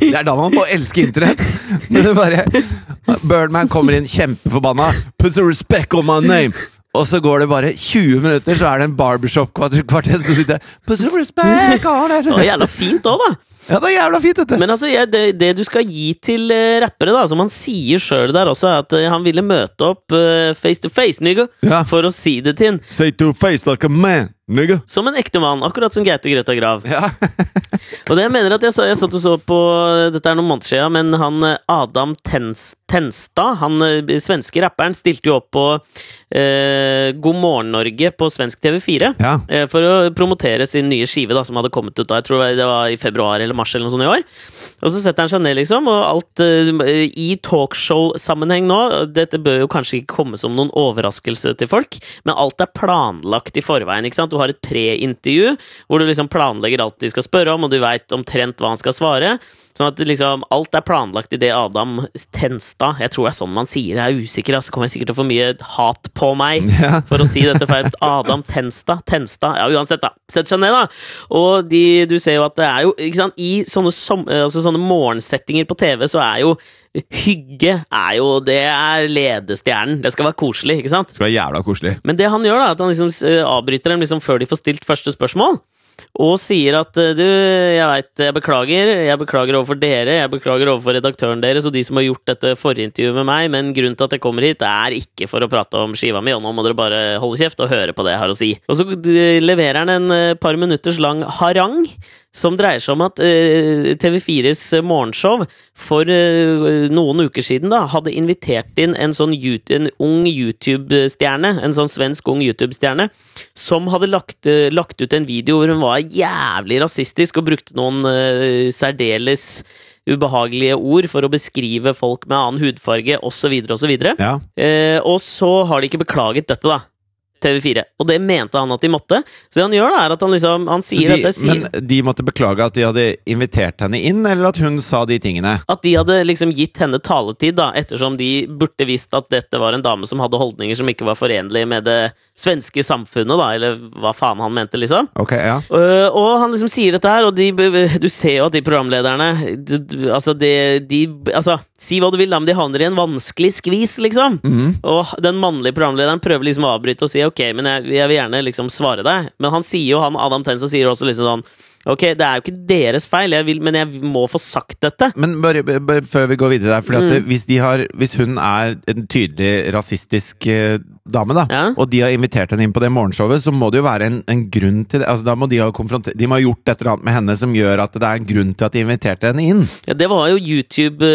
S2: Det er da man må elske internett! Når det bare Birdman kommer inn kjempeforbanna. Put some respect on my name! Og så går det bare 20 minutter, så er det en barbershop-kvartett som sitter der. Put some respect on it!
S1: Det var jævla fint òg, da.
S2: Ja, det er jævla fint, dette!
S1: Men altså, jeg, det, det du skal gi til eh, rappere, da, som han sier sjøl der også, er at eh, han ville møte opp eh, face to face, nigga,
S2: Ja.
S1: for å si det til han.
S2: Say to face like a man, nigga.
S1: Som en ekte mann, akkurat som Gaute Grøtta Grav.
S2: Ja.
S1: Og det jeg mener at jeg, så, jeg satt og så på eh, Dette er noen måneder siden, men han eh, Adam Tens, Tenstad, han eh, svenske rapperen, stilte jo opp på eh, God morgen Norge på svensk TV4.
S2: Ja.
S1: eh, For å promotere sin nye skive da, som hadde kommet ut da, jeg tror det var i februar eller mars eller noe sånt i år. Og så setter han seg ned, liksom, og alt eh, i talkshow-sammenheng nå Dette bør jo kanskje ikke komme som noen overraskelse til folk, men alt er planlagt i forveien. ikke sant? Du har et pre-intervju hvor du liksom planlegger alt de skal spørre om, og du veit omtrent hva han skal svare. Sånn at det liksom alt er planlagt i det Adam Tenstad Jeg tror det er sånn man sier det, jeg er usikker, altså. Kommer jeg sikkert til å få mye hat på meg
S2: Ja.
S1: for å si dette feil. Adam Tenstad, Tenstad Ja, uansett, da. Setter seg ned, da. Og de, du ser jo at det er jo ikke sant, I sånne, som, eh, altså sånne morgensettinger på TV så er jo Hygge er jo Det er ledestjernen. Det skal være koselig, ikke sant?
S2: Det skal være jævla koselig.
S1: Men det han gjør, da, er at han liksom eh, avbryter dem liksom før de får stilt første spørsmål. Og sier at eh, du, jeg veit jeg beklager. Jeg beklager overfor dere, jeg beklager overfor redaktøren deres og de som har gjort dette forrige intervjuet med meg, men grunnen til at jeg kommer hit, er ikke for å prate om skiva mi, og nå må dere bare holde kjeft og høre på det jeg har å si. Og så eh, leverer han en eh, par minutters lang harang som dreier seg om at eh, TV4s morgenshow for eh, noen uker siden da, hadde invitert inn en sånn yout- en ung YouTube-stjerne, en sånn svensk ung YouTube-stjerne, som hadde lagt, eh, lagt ut en video hvor hun var jævlig rasistisk og brukte noen eh, særdeles ubehagelige ord for å beskrive folk med annen hudfarge, osv., osv.
S2: Ja.
S1: Eh, og så har de ikke beklaget dette, da. TV4. Og det mente han at de måtte. Så det han gjør, da, er at han liksom Han
S2: Så
S1: sier
S2: de,
S1: dette sier,
S2: men de måtte beklage at de hadde invitert henne inn, eller at hun sa de tingene?
S1: At de hadde liksom gitt henne taletid, da, ettersom de burde visst at dette var en dame som hadde holdninger som ikke var forenlige med det svenske samfunnet, da, eller hva faen han mente, liksom.
S2: Ok, ja.
S1: Øh, og han liksom sier dette her, og de, du ser jo at de programlederne du, du, Altså, de, de altså, Si hva du vil, da, men de havner i en vanskelig skvis, liksom. Og den mannlige programlederen prøver liksom å avbryte og si ok, men jeg, jeg vil gjerne liksom svare deg. Men han sier jo, han Adam Tensa sier også liksom sånn Ok, det er jo ikke deres feil, jeg vil, men jeg må få sagt dette.
S2: Men bare, bare før vi går videre der, fordi at
S1: Mm.
S2: det- hvis, de har, hvis hun er en tydelig rasistisk eh, dame, da,
S1: Ja.
S2: og de har invitert henne inn på det morgenshowet, så må det jo være en, en grunn til det. Altså, da må de, ha konfronter- de må ha gjort et eller annet med henne som gjør at det er en grunn til at de inviterte henne inn.
S1: Ja, det var jo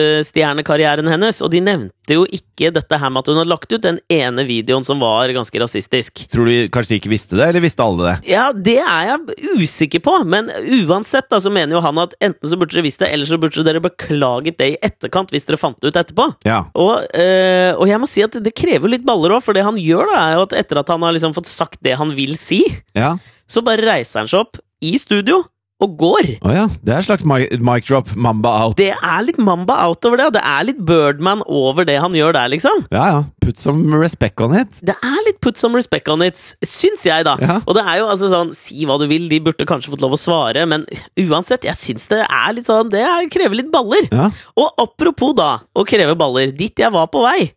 S1: YouTube-stjernekarrieren hennes, og de nevnte jo ikke dette her med at hun hadde lagt ut den ene videoen som var ganske rasistisk.
S2: Tror du kanskje de ikke visste det, eller visste alle det?
S1: Ja, det er jeg usikker på, men uansett da, så mener jo han at enten så burde dere visst det, eller så burde dere beklaget det i etterkant hvis dere fant det ut etterpå.
S2: Ja.
S1: Og, eh, og jeg må si at det krever litt baller òg, for det han gjør, da, er jo at etter at han har liksom fått sagt det han vil si,
S2: ja.
S1: så bare reiser han seg opp i studio og går.
S2: Å ja. Det er en slags mic, mic drop, mamba out.
S1: Det er litt Mamba out over det, og det er litt Birdman over det han gjør der, liksom.
S2: Ja, ja. Put some respect on it.
S1: Det er litt put some respect on it, syns jeg, da.
S2: Ja.
S1: Og det er jo altså sånn, si hva du vil, de burde kanskje fått lov å svare, men uansett, jeg syns det er litt sånn, det er, krever litt baller.
S2: Ja.
S1: Og apropos da, å kreve baller, dit jeg var på vei,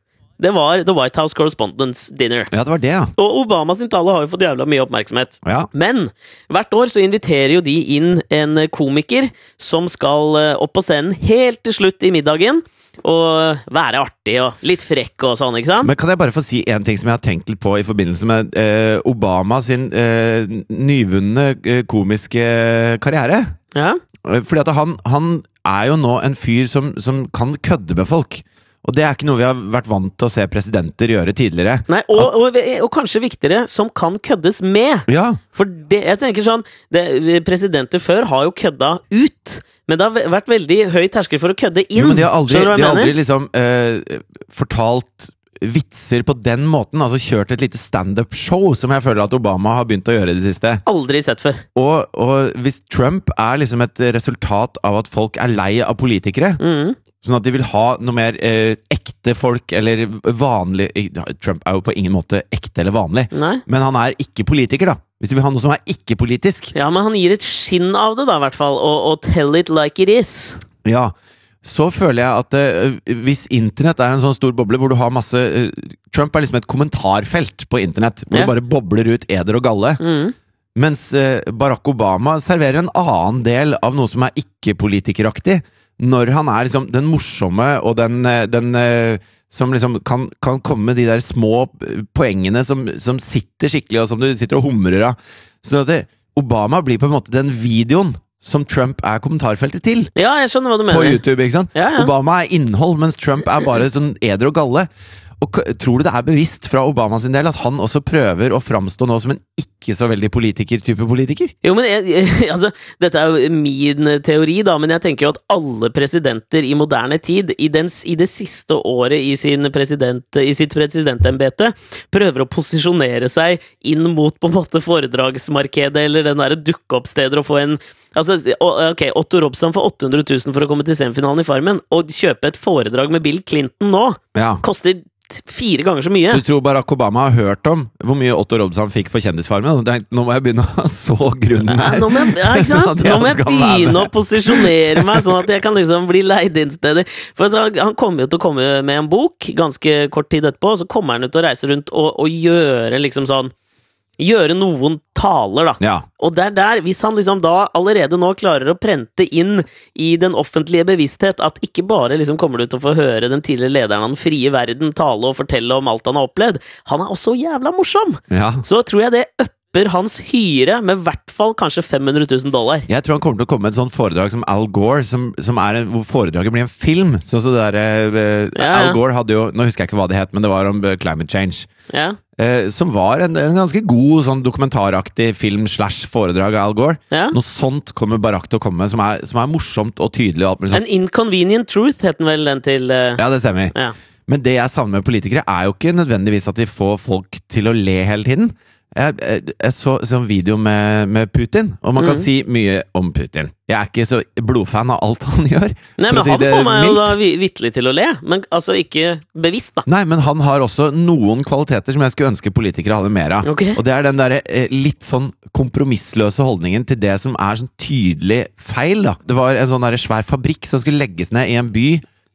S1: det var The White House Correspondence Dinner.
S2: ja, det var det, ja.
S1: Og Obamas sin tale har jo fått jævla mye oppmerksomhet.
S2: Ja,
S1: Men hvert år så inviterer jo de inn en komiker som skal eh, opp på scenen helt til slutt i middagen og være artig og litt frekk og sånn, ikke sant?
S2: Men kan jeg bare få si en ting som jeg har tenkt litt på i forbindelse med eh, Obama sin eh, nyvunne eh, komiske karriere?
S1: Ja.
S2: Eh, Fordi at han, han er jo nå en fyr som, som kan kødde med folk. Og det er ikke noe vi har vært vant til å se presidenter gjøre tidligere.
S1: Nei, og, og, og kanskje viktigere, som kan køddes med.
S2: Ja,
S1: For det, jeg tenker sånn det, Presidenter før har jo kødda ut, men det har ve- vært veldig høy terskel for å kødde inn.
S2: jo, men de har aldri,
S1: Skjønner du hva jeg
S2: de har
S1: mener?
S2: aldri liksom eh, fortalt vitser på den måten. Altså kjørt et lite standup-show, som jeg føler at Obama har begynt å gjøre i det siste.
S1: Aldri sett før.
S2: Og, og hvis Trump er liksom et resultat av at folk er lei av politikere, sånn at de vil ha noe mer eh, ekte folk eller vanlig eh, Trump er jo på ingen måte ekte eller vanlig,
S1: Nei.
S2: men han er ikke politiker, da. Hvis de vil ha noe som er ikke-politisk.
S1: Ja, men han gir et skinn av det, da, i hvert fall. Og, og 'tell it like it is'.
S2: Ja, så føler jeg at eh, hvis internett er en sånn stor boble hvor du har masse eh, Trump er liksom et kommentarfelt på internett, hvor
S1: Ja.
S2: det bare bobler ut eder og galle. Mens eh, Barack Obama serverer en annen del av noe som er ikke-politikeraktig. Når han er liksom den morsomme og den, eh, den eh, som liksom kan, kan komme med de der små eh, poengene som, som sitter skikkelig, og som du sitter og humrer av. Så det, Obama blir på en måte den videoen som Trump er kommentarfeltet til
S1: Ja, jeg skjønner hva du
S2: på
S1: mener.
S2: YouTube, ikke sant?
S1: Ja, ja.
S2: Obama er innhold, mens Trump er bare sånn eder og galle. Og k- Tror du det er bevisst fra Obama sin del at han også prøver å framstå nå som en ikke så veldig politiker-type politiker?
S1: Jo, men jeg, jeg, altså, Dette er jo min teori, da, men jeg tenker jo at alle presidenter i moderne tid, i, den, s- i det siste året i, sin president, i sitt presidentembete, prøver å posisjonere seg inn mot på en måte foredragsmarkedet eller den derre dukke-opp-steder og få en Altså, s- å- ok, Otto Robson får 800 000 for å komme til semifinalen i Farmen, og kjøpe et foredrag med Bill Clinton nå
S2: Ja.
S1: koster t- fire ganger så mye.
S2: Så du tror Barack Obama har hørt om hvor mye Otto Robson fikk for Kjendisfarmen? Og tenkt, nå må jeg begynne å så grunnen
S1: Ja,
S2: her.
S1: nå må jeg, ja, ikke
S2: Sånn
S1: sant?
S2: at
S1: Nå
S2: han
S1: må jeg
S2: skal være med.
S1: begynne å posisjonere meg, sånn at jeg kan liksom bli leid inn steder. For altså, han- Han kommer jo til å komme med en bok ganske kort tid etterpå, og så kommer han jo til å reise rundt og, og gjøre liksom sånn Gjøre noen taler, da.
S2: Ja.
S1: Og det er der, hvis han liksom da allerede nå klarer å prente inn i den offentlige bevissthet at ikke bare liksom kommer du til å få høre den tidligere lederen av den frie verden tale og fortelle om alt han har opplevd, han er også jævla morsom!
S2: ja.
S1: så tror jeg det upper hans hyre med i hvert fall kanskje 500 000 dollar.
S2: Jeg tror han kommer til å komme med et sånt foredrag som Al Gore, som, som er en, hvor foredraget blir en film. Sånn som det der, eh,
S1: Ja, ja.
S2: Al Gore hadde jo, nå husker jeg ikke hva det het, men det var om eh, climate change.
S1: Ja,
S2: Eh, som var en, en ganske god sånn dokumentaraktig film slash foredrag av Al Gore.
S1: ja.
S2: Noe sånt kommer Barack til å komme med, som er, som er morsomt og tydelig. og alt mulig sånt.
S1: An inconvenient truth het den vel den til eh,
S2: Ja, det stemmer.
S1: ja.
S2: Men det jeg savner med politikere, er jo ikke nødvendigvis at de får folk til å le hele tiden. Jeg, jeg, jeg så, så en video med, med Putin, og man kan
S1: Mhm.
S2: si mye om Putin. Jeg er ikke så blodfan av alt han gjør.
S1: Nei,
S2: for
S1: men
S2: å si
S1: han
S2: det
S1: får meg jo
S2: mildt.
S1: da vi- vitterlig til å le, men altså ikke bevisst, da.
S2: Nei, men han har også noen kvaliteter som jeg skulle ønske politikere hadde mer av.
S1: Ok.
S2: Og det er den derre eh, litt sånn kompromissløse holdningen til det som er sånn tydelig feil, da. Det var en sånn derre svær fabrikk som skulle legges ned i en by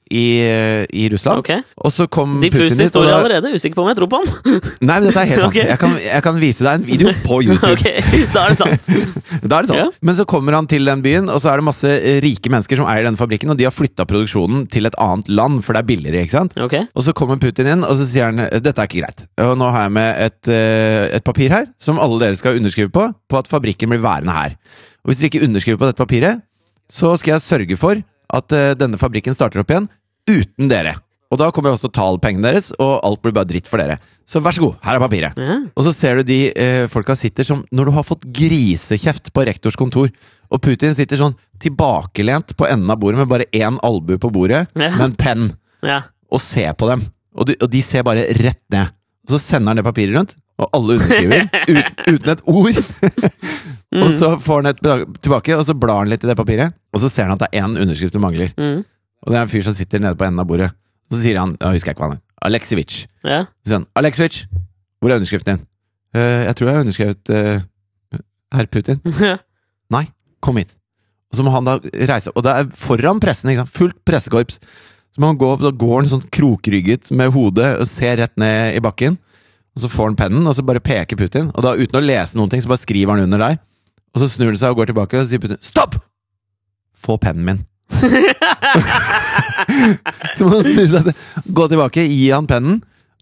S2: i, eh, i Russland.
S1: Ok.
S2: Og så kom
S1: Diffus
S2: Putin dit, og
S1: historie
S2: da-
S1: allerede, usikker på om jeg tror på han.
S2: Nei, men dette er helt sant.
S1: Ok.
S2: Jeg, kan, jeg kan vise deg en video på YouTube.
S1: ok, da er det sant.
S2: Da er det sånn.
S1: Ja.
S2: Men så kommer han til den byen, og så er det masse eh, rike mennesker som eier denne fabrikken, og de har flytta produksjonen til et annet land, for det er billigere, ikke sant?
S1: Ok,
S2: Og så kommer Putin inn, og så sier han dette er ikke greit. Og nå har jeg med et, eh, et papir her, som alle dere skal underskrive på, på at fabrikken blir værende her. Og hvis dere ikke underskriver på dette papiret, så skal jeg sørge for at eh, denne fabrikken starter opp igjen uten dere. Og da kommer jeg også til å ta alle pengene deres, og alt blir bare dritt for dere. Så vær så god, her er papiret.
S1: Ja.
S2: Og så ser du de eh, folka sitter som når du har fått grisekjeft på rektors kontor, og Putin sitter sånn tilbakelent på enden av bordet med bare én albue på bordet,
S1: Ja.
S2: med en penn
S1: ja.
S2: og se på dem. Og de, og de ser bare rett ned. Og så sender han det papiret rundt, og alle underskriver ut, uten et ord. og så får han et bla- tilbake, og så blar han litt i det papiret, og så ser han at det er én underskrift som mangler.
S1: Mm.
S2: Og det er en fyr som sitter nede på enden av bordet. Og så sier han, jeg husker jeg ikke hva han er, Aleksevitsj.
S1: ja.
S2: Så sier han, Aleksevitsj, hvor er underskriften din? «Eh, jeg tror jeg har underskrevet eh, herr Putin. Nei, kom hit. Og så må han da reise Og det er foran pressen, ikke sant? fullt pressekorps. Så må han gå opp, da går han sånn krokrygget med hodet og ser rett ned i bakken. Og så får han pennen, og så bare peker Putin. Og da uten å lese noen ting, så bare skriver han under der. Og så snur han seg og går tilbake, og så sier Putin 'stopp!' Få pennen min. så må han snu seg, til- gå tilbake, gi han pennen,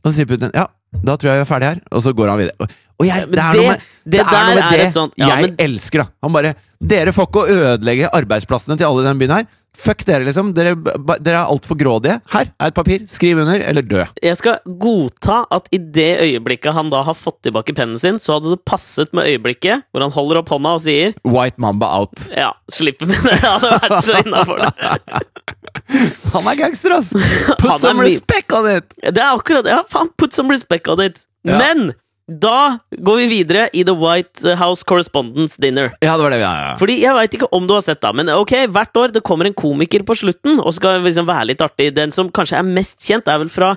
S2: og så sier Putin 'ja, Da tror jeg vi er ferdig her. Og så går han videre. Og jeg,
S1: men
S2: det er
S1: det-
S2: noe med
S1: det
S2: det, er
S1: der
S2: noe med
S1: er
S2: det
S1: et sånt- ja,
S2: jeg
S1: men-
S2: elsker, da. Han bare Dere får ikke ødelegge arbeidsplassene til alle i den byen her. Fuck dere, liksom. Dere, ba- dere er altfor grådige. Her er et papir. Skriv under, eller dø.
S1: Jeg skal godta at i det øyeblikket han da har fått tilbake pennen sin, så hadde det passet med øyeblikket hvor han holder opp hånda og sier
S2: White Mamba out.
S1: Ja, slipp med det. Det hadde vært så innafor det.
S2: Han er gangster, ass! Put
S1: Han er
S2: some
S1: min-
S2: respect on it!
S1: Det er akkurat Ja, faen, put some respect on it.
S2: Ja.
S1: Men da går vi videre i The White House Correspondence Dinner.
S2: Ja, det var det vi ja, ja.
S1: Fordi Jeg veit ikke om du har sett, da, men ok, hvert år det kommer en komiker på slutten og skal liksom være litt artig. Den som kanskje er mest kjent, er vel fra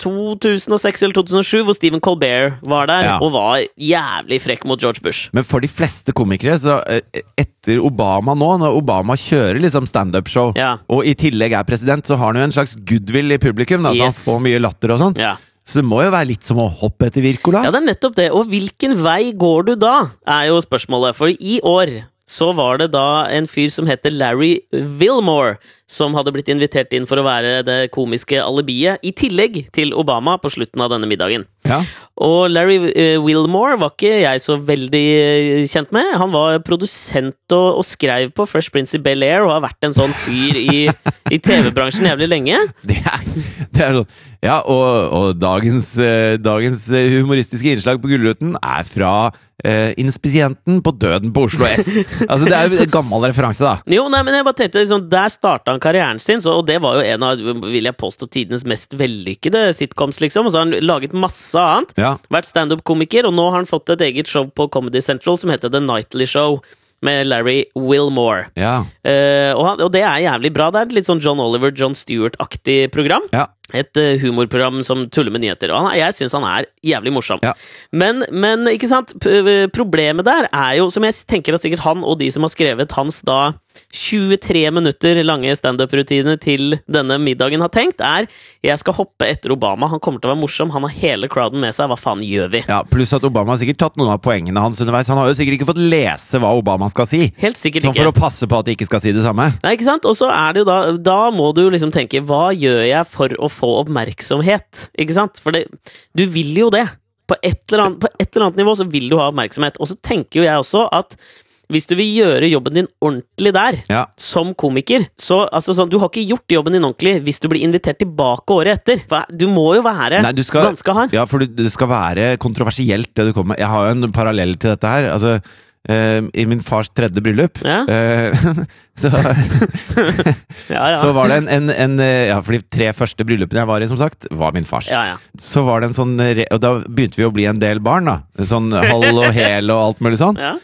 S1: 2006 eller 2007, hvor Stephen Colbert var der
S2: Ja.
S1: og var jævlig frekk mot George Bush.
S2: Men for de fleste komikere, så eh, etter Obama nå, når Obama kjører liksom standup-show,
S1: Ja.
S2: og i tillegg er president, så har han jo en slags goodwill i publikum. Da, så
S1: Yes.
S2: han får mye latter og sånn.
S1: Ja.
S2: Så det må jo være litt som å hoppe etter Wirkola.
S1: ja, det er nettopp det. Og hvilken vei går du da, er jo spørsmålet. For i år så var det da en fyr som heter Larry Wilmore, som hadde blitt invitert inn for å være det komiske alibiet, i tillegg til Obama på slutten av denne middagen.
S2: Ja.
S1: Og Larry eh, Wilmore var ikke jeg så veldig eh, kjent med. Han var produsent og, og skrev på Fresh Prince i Bel-Air og har vært en sånn fyr i, i TV-bransjen jævlig lenge.
S2: Det er, det er sånn. Ja, og, og dagens, eh, dagens eh, humoristiske innslag på Gullruten er fra eh, Inspisienten på døden på Oslo S. altså, det er jo en gammel referanse, da.
S1: Jo, nei, men jeg bare tenkte liksom, Der starta han karrieren sin, så, og det var jo en av vil jeg påstå, tidenes mest vellykkede sitcoms. liksom, og Så har han laget masse annet.
S2: Ja.
S1: Vært standup-komiker, og nå har han fått et eget show på Comedy Central som heter The Nightly Show, med Larry Wilmore.
S2: Ja.
S1: Eh, og, han, og det er jævlig bra. Det er et litt sånn John Oliver, John Stewart-aktig program.
S2: Ja.
S1: Et eh, humorprogram som tuller med nyheter. Og han, er- jeg syns han er jævlig morsom.
S2: Ja.
S1: Men, men ikke sant? P- eh, problemet der er jo, som jeg tenker at sikkert han og de som har skrevet hans da 23 minutter lange standup-rutine til denne middagen har tenkt, er jeg skal hoppe etter Obama. Han kommer til å være morsom. Han har hele crowden med seg. Hva faen gjør vi?
S2: ja. Pluss at Obama har sikkert tatt noen av poengene hans underveis. Han har jo sikkert ikke fått lese hva Obama skal si.
S1: Helt sikkert
S2: Sånn
S1: ikke.
S2: for å passe på at de ikke skal si det samme.
S1: Nei, ikke sant? Og så er det jo da Da må du jo liksom tenke Hva gjør jeg for å få oppmerksomhet? Ikke sant? For det, du vil jo det. På et, eller annet, på et eller annet nivå så vil du ha oppmerksomhet. Og så tenker jo jeg også at hvis du vil gjøre jobben din ordentlig der,
S2: Ja.
S1: som komiker så, altså sånn, Du har ikke gjort jobben din ordentlig hvis du blir invitert tilbake året etter. Hva- Du må jo være
S2: Nei, du skal,
S1: ganske hard.
S2: Ja, for du, det skal være kontroversielt, det du kommer med. Jeg har jo en parallell til dette her. Altså, eh, I min fars tredje bryllup
S1: Ja.
S2: eh, så,
S1: Ja, ja.
S2: så var det en, en, en eh, Ja, for de tre første bryllupene jeg var i, som sagt, var min fars.
S1: ja, ja.
S2: Så var det en sånn re- Og da begynte vi å bli en del barn, da. Sånn halv og hel og alt mulig sånn.
S1: ja.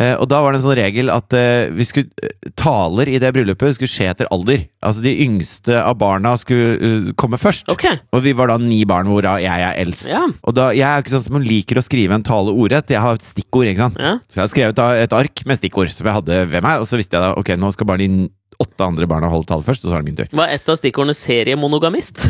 S2: Eh, og da var det en sånn regel at eh, vi skulle, eh, taler i det bryllupet skulle skje etter alder. Altså de yngste av barna skulle eh, komme først.
S1: Ok.
S2: Og vi var da ni barn, hvorav jeg er eldst.
S1: Ja.
S2: Og da, Jeg er ikke sånn som liker å skrive en tale ordrett. Jeg har et stikkord. ikke sant?
S1: Ja.
S2: Så jeg har skrevet da et ark med stikkord som jeg hadde ved meg. Og så visste jeg da ok, nå skal bare de n- åtte andre barna holde tale først, og så er det min tur.
S1: Var et av stikkordene 'seriemonogamist'?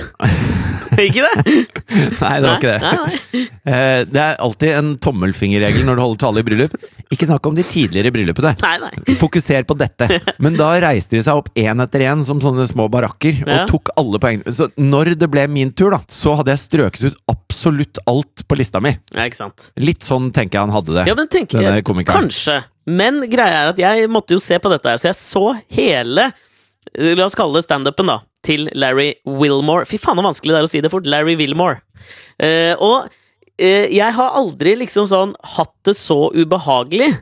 S1: ikke det?
S2: Nei, det var ikke det.
S1: Nei, nei, nei.
S2: Eh, det er alltid en tommelfingerregel når du holder tale i bryllup. Ikke snakk om de tidligere bryllupene.
S1: nei, nei.
S2: Fokuser på dette. Men da reiste de seg opp én etter én som sånne små barakker og
S1: Ja.
S2: tok alle poengene. Så når det ble min tur, da, så hadde jeg strøket ut absolutt alt på lista mi.
S1: Ja, ikke sant.
S2: Litt sånn tenker jeg han hadde det.
S1: Ja, men tenk,
S2: Denne komikeren.
S1: Kanskje. Men greia er at jeg måtte jo se på dette, her, så jeg så hele eh, La oss kalle det standupen, da. Til Larry Wilmore. Fy faen, så vanskelig det er å si det fort. Larry Wilmore. Eh, og eh, jeg har aldri liksom sånn hatt det så ubehagelig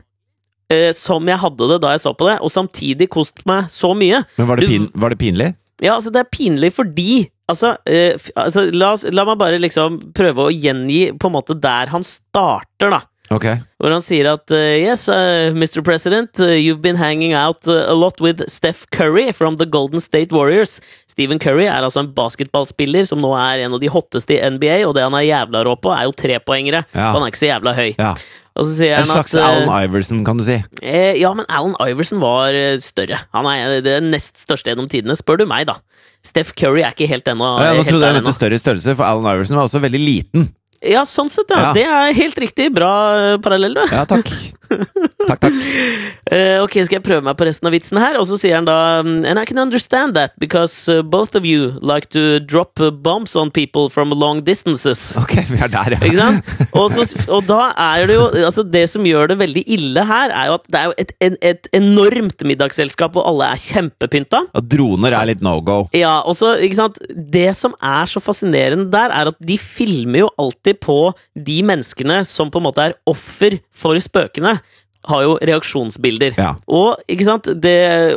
S1: eh, som jeg hadde det da jeg så på det, og samtidig kost meg så mye.
S2: Men var det,
S1: Du-
S2: pin, var det pinlig?
S1: Ja, altså, det er pinlig fordi Altså, eh, f- altså la, oss, la meg bare liksom prøve å gjengi på en måte der han starter, da.
S2: Ok.
S1: Hvor han sier at uh, Yes, uh, Mr. President, uh, you've been hanging out uh, a lot with Steph Curry from the Golden State Warriors. Stephen Curry er altså en basketballspiller som nå er en av de hotteste i NBA, og det han er jævla rå på, er jo trepoengere.
S2: Ja.
S1: Og han er ikke så jævla høy.
S2: Ja.
S1: Og så sier
S2: En
S1: han
S2: slags
S1: at uh,
S2: Alan Iverson, kan du si.
S1: Eh, ja, men Allen Iverson var eh, større. Han er den nest største gjennom tidene, spør du meg, da. Steff Curry er ikke helt ennå.
S2: Ja, nå
S1: helt
S2: trodde jeg
S1: der
S2: mente
S1: ennå.
S2: større størrelse, for Alan Iverson var også veldig liten.
S1: Ja, sånn sett, ja.
S2: Ja.
S1: Det er helt riktig. Bra eh, parallell, du.
S2: Ja, takk. takk, takk.
S1: Eh, ok, skal jeg prøve meg på resten av vitsen her? Og så sier han da mm, And I can understand that, because uh, both of you like to drop uh, bombs on people from long distances.
S2: Ok, vi er der,
S1: Ikke
S2: ja.
S1: sant? Og, så, og da er det jo altså Det som gjør det veldig ille her, er jo at det er jo et, en, et enormt middagsselskap hvor alle er kjempepynta.
S2: Og droner er litt no go.
S1: Ja, og så, ikke sant Det som er så fascinerende der, er at de filmer jo alltid på de menneskene som på en måte er offer for spøkene. Har jo reaksjonsbilder.
S2: Ja.
S1: Og ikke sant, det,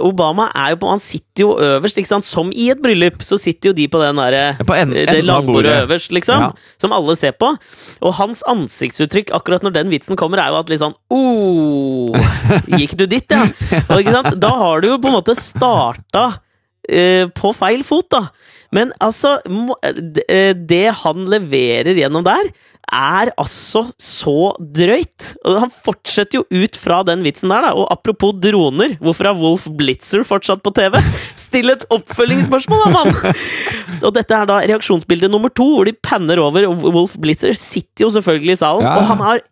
S1: Obama er jo på, han sitter jo øverst, ikke sant, som i et bryllup. Så sitter jo de på den derre eh,
S2: På en-
S1: det
S2: enden av
S1: langbordet
S2: bordet.
S1: øverst, liksom.
S2: Ja.
S1: Som alle ser på. Og hans ansiktsuttrykk akkurat når den vitsen kommer, er jo at litt sånn oh, Gikk du dit, ja? Og, ikke sant? Da har du jo på en måte starta eh, på feil fot, da. Men altså må- d- eh, Det han leverer gjennom der, er altså så drøyt. Og han fortsetter jo ut fra den vitsen der, da. Og apropos droner, hvorfor er Wolf Blitzer fortsatt på TV? Still et oppfølgingsspørsmål, da, mann! Og dette er da reaksjonsbilde nummer to, hvor de panner over. Og Wolf Blitzer sitter jo selvfølgelig i salen,
S2: Ja.
S1: og han har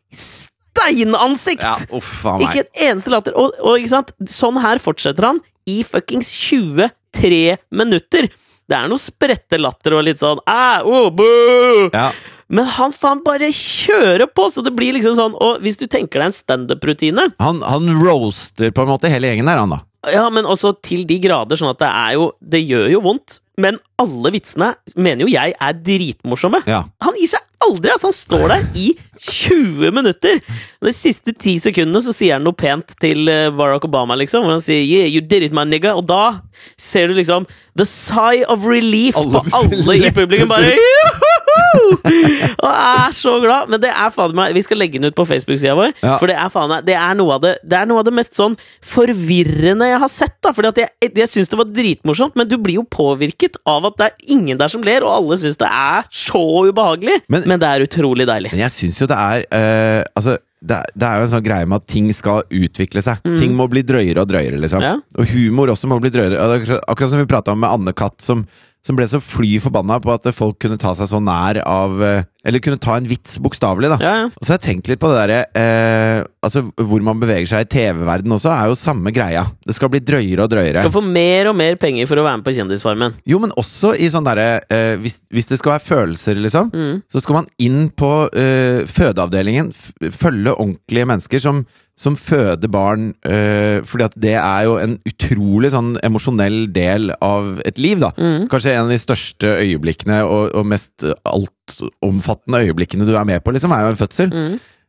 S1: steinansikt!
S2: Ja, uff a
S1: Ikke
S2: meg.
S1: et eneste latter. Og, og ikke sant? sånn her fortsetter han i fuckings 23 minutter! Det er noe sprette latter og litt sånn ah, oh, boo!
S2: Ja.
S1: Men han faen bare kjører på! Så det blir liksom sånn Og hvis du tenker deg en standup-rutine
S2: Han, han roaster på en måte hele gjengen der, han da.
S1: Ja, men også til de grader, sånn at det er jo Det gjør jo vondt. Men alle vitsene mener jo jeg er dritmorsomme.
S2: Ja.
S1: Han gir seg aldri! altså Han står der i 20 minutter! De siste 10 sekundene så sier han noe pent til eh, Barack Obama, liksom. Hvor han sier 'Yeah, you did it, my nigga'. Og da ser du liksom the sigh of relief
S2: Alle
S1: på alle i
S2: lettet
S1: publikum. Bare «Juhu!» Og er så glad! Men det er fader meg Vi skal legge den ut på Facebook-sida vår.
S2: Ja.
S1: For det er faen meg Det er noe av det Det er noe av det mest sånn forvirrende jeg har sett. da Fordi at jeg, jeg syns det var dritmorsomt, men du blir jo påvirket av at det er ingen der som ler, og alle syns det er så ubehagelig. Men,
S2: Men-
S1: det er utrolig deilig.
S2: Men jeg syns jo det er eh, Altså, det er, det er jo en sånn greie med at ting skal utvikle seg. Ting må bli drøyere og drøyere, liksom.
S1: Mm. Ja.
S2: Og humor også må bli drøyere. Og det er akkurat- Akkurat som vi prata om med Anne-Kat, som, som ble så fly forbanna på at folk kunne ta seg så nær av eh, Eller kunne ta en vits bokstavelig, da.
S1: Ja, ja.
S2: Og så har jeg tenkt litt på det derre eh, Altså, hvor man beveger seg i TV-verden også, er jo samme greia. Det skal bli drøyere og drøyere.
S1: Skal få mer og mer penger for å være med på Kjendisfarmen.
S2: Jo, men også i sånn derre eh, hvis, hvis det skal være følelser, liksom, så skal man inn på eh, fødeavdelingen. F følge ordentlige mennesker som, som føder barn. Eh, fordi at det er jo en utrolig sånn emosjonell del av et liv, da. Kanskje en av de største øyeblikkene og, og mest eh, altomfattende øyeblikkene du er med på, liksom, er jo en fødsel.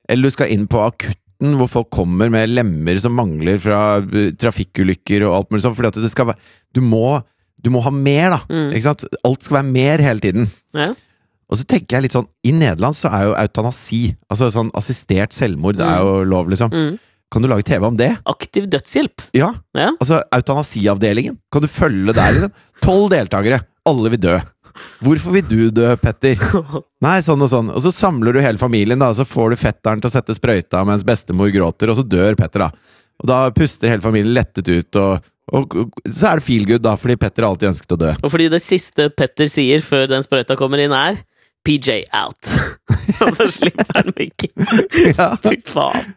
S2: Eller du skal inn på akutten, hvor folk kommer med lemmer som mangler fra eh, trafikkulykker og alt mulig sånt. Fordi at det skal være Du må, du må ha mer, da. Ikke sant? Alt skal være mer hele tiden.
S1: Ja.
S2: Og så tenker jeg litt sånn I Nederland så er jo eutanasi, altså sånn assistert selvmord, det er jo lov, liksom.
S1: Mm.
S2: Kan du lage TV om det?
S1: Aktiv dødshjelp.
S2: Ja.
S1: Ja.
S2: Altså eutanasiavdelingen. Kan du følge der, liksom? Tolv deltakere. Alle vil dø. Hvorfor vil du dø, Petter? Nei, sånn og sånn. Og så samler du hele familien, da, og så får du fetteren til å sette sprøyta mens bestemor gråter, og så dør Petter, da. Og da puster hele familien lettet ut, og, og, og så er det feel good, da, fordi Petter alltid ønsket å dø.
S1: Og fordi det siste Petter sier før den sprøyta kommer inn, er PJ out. Og så slipper han mikken. Fy faen.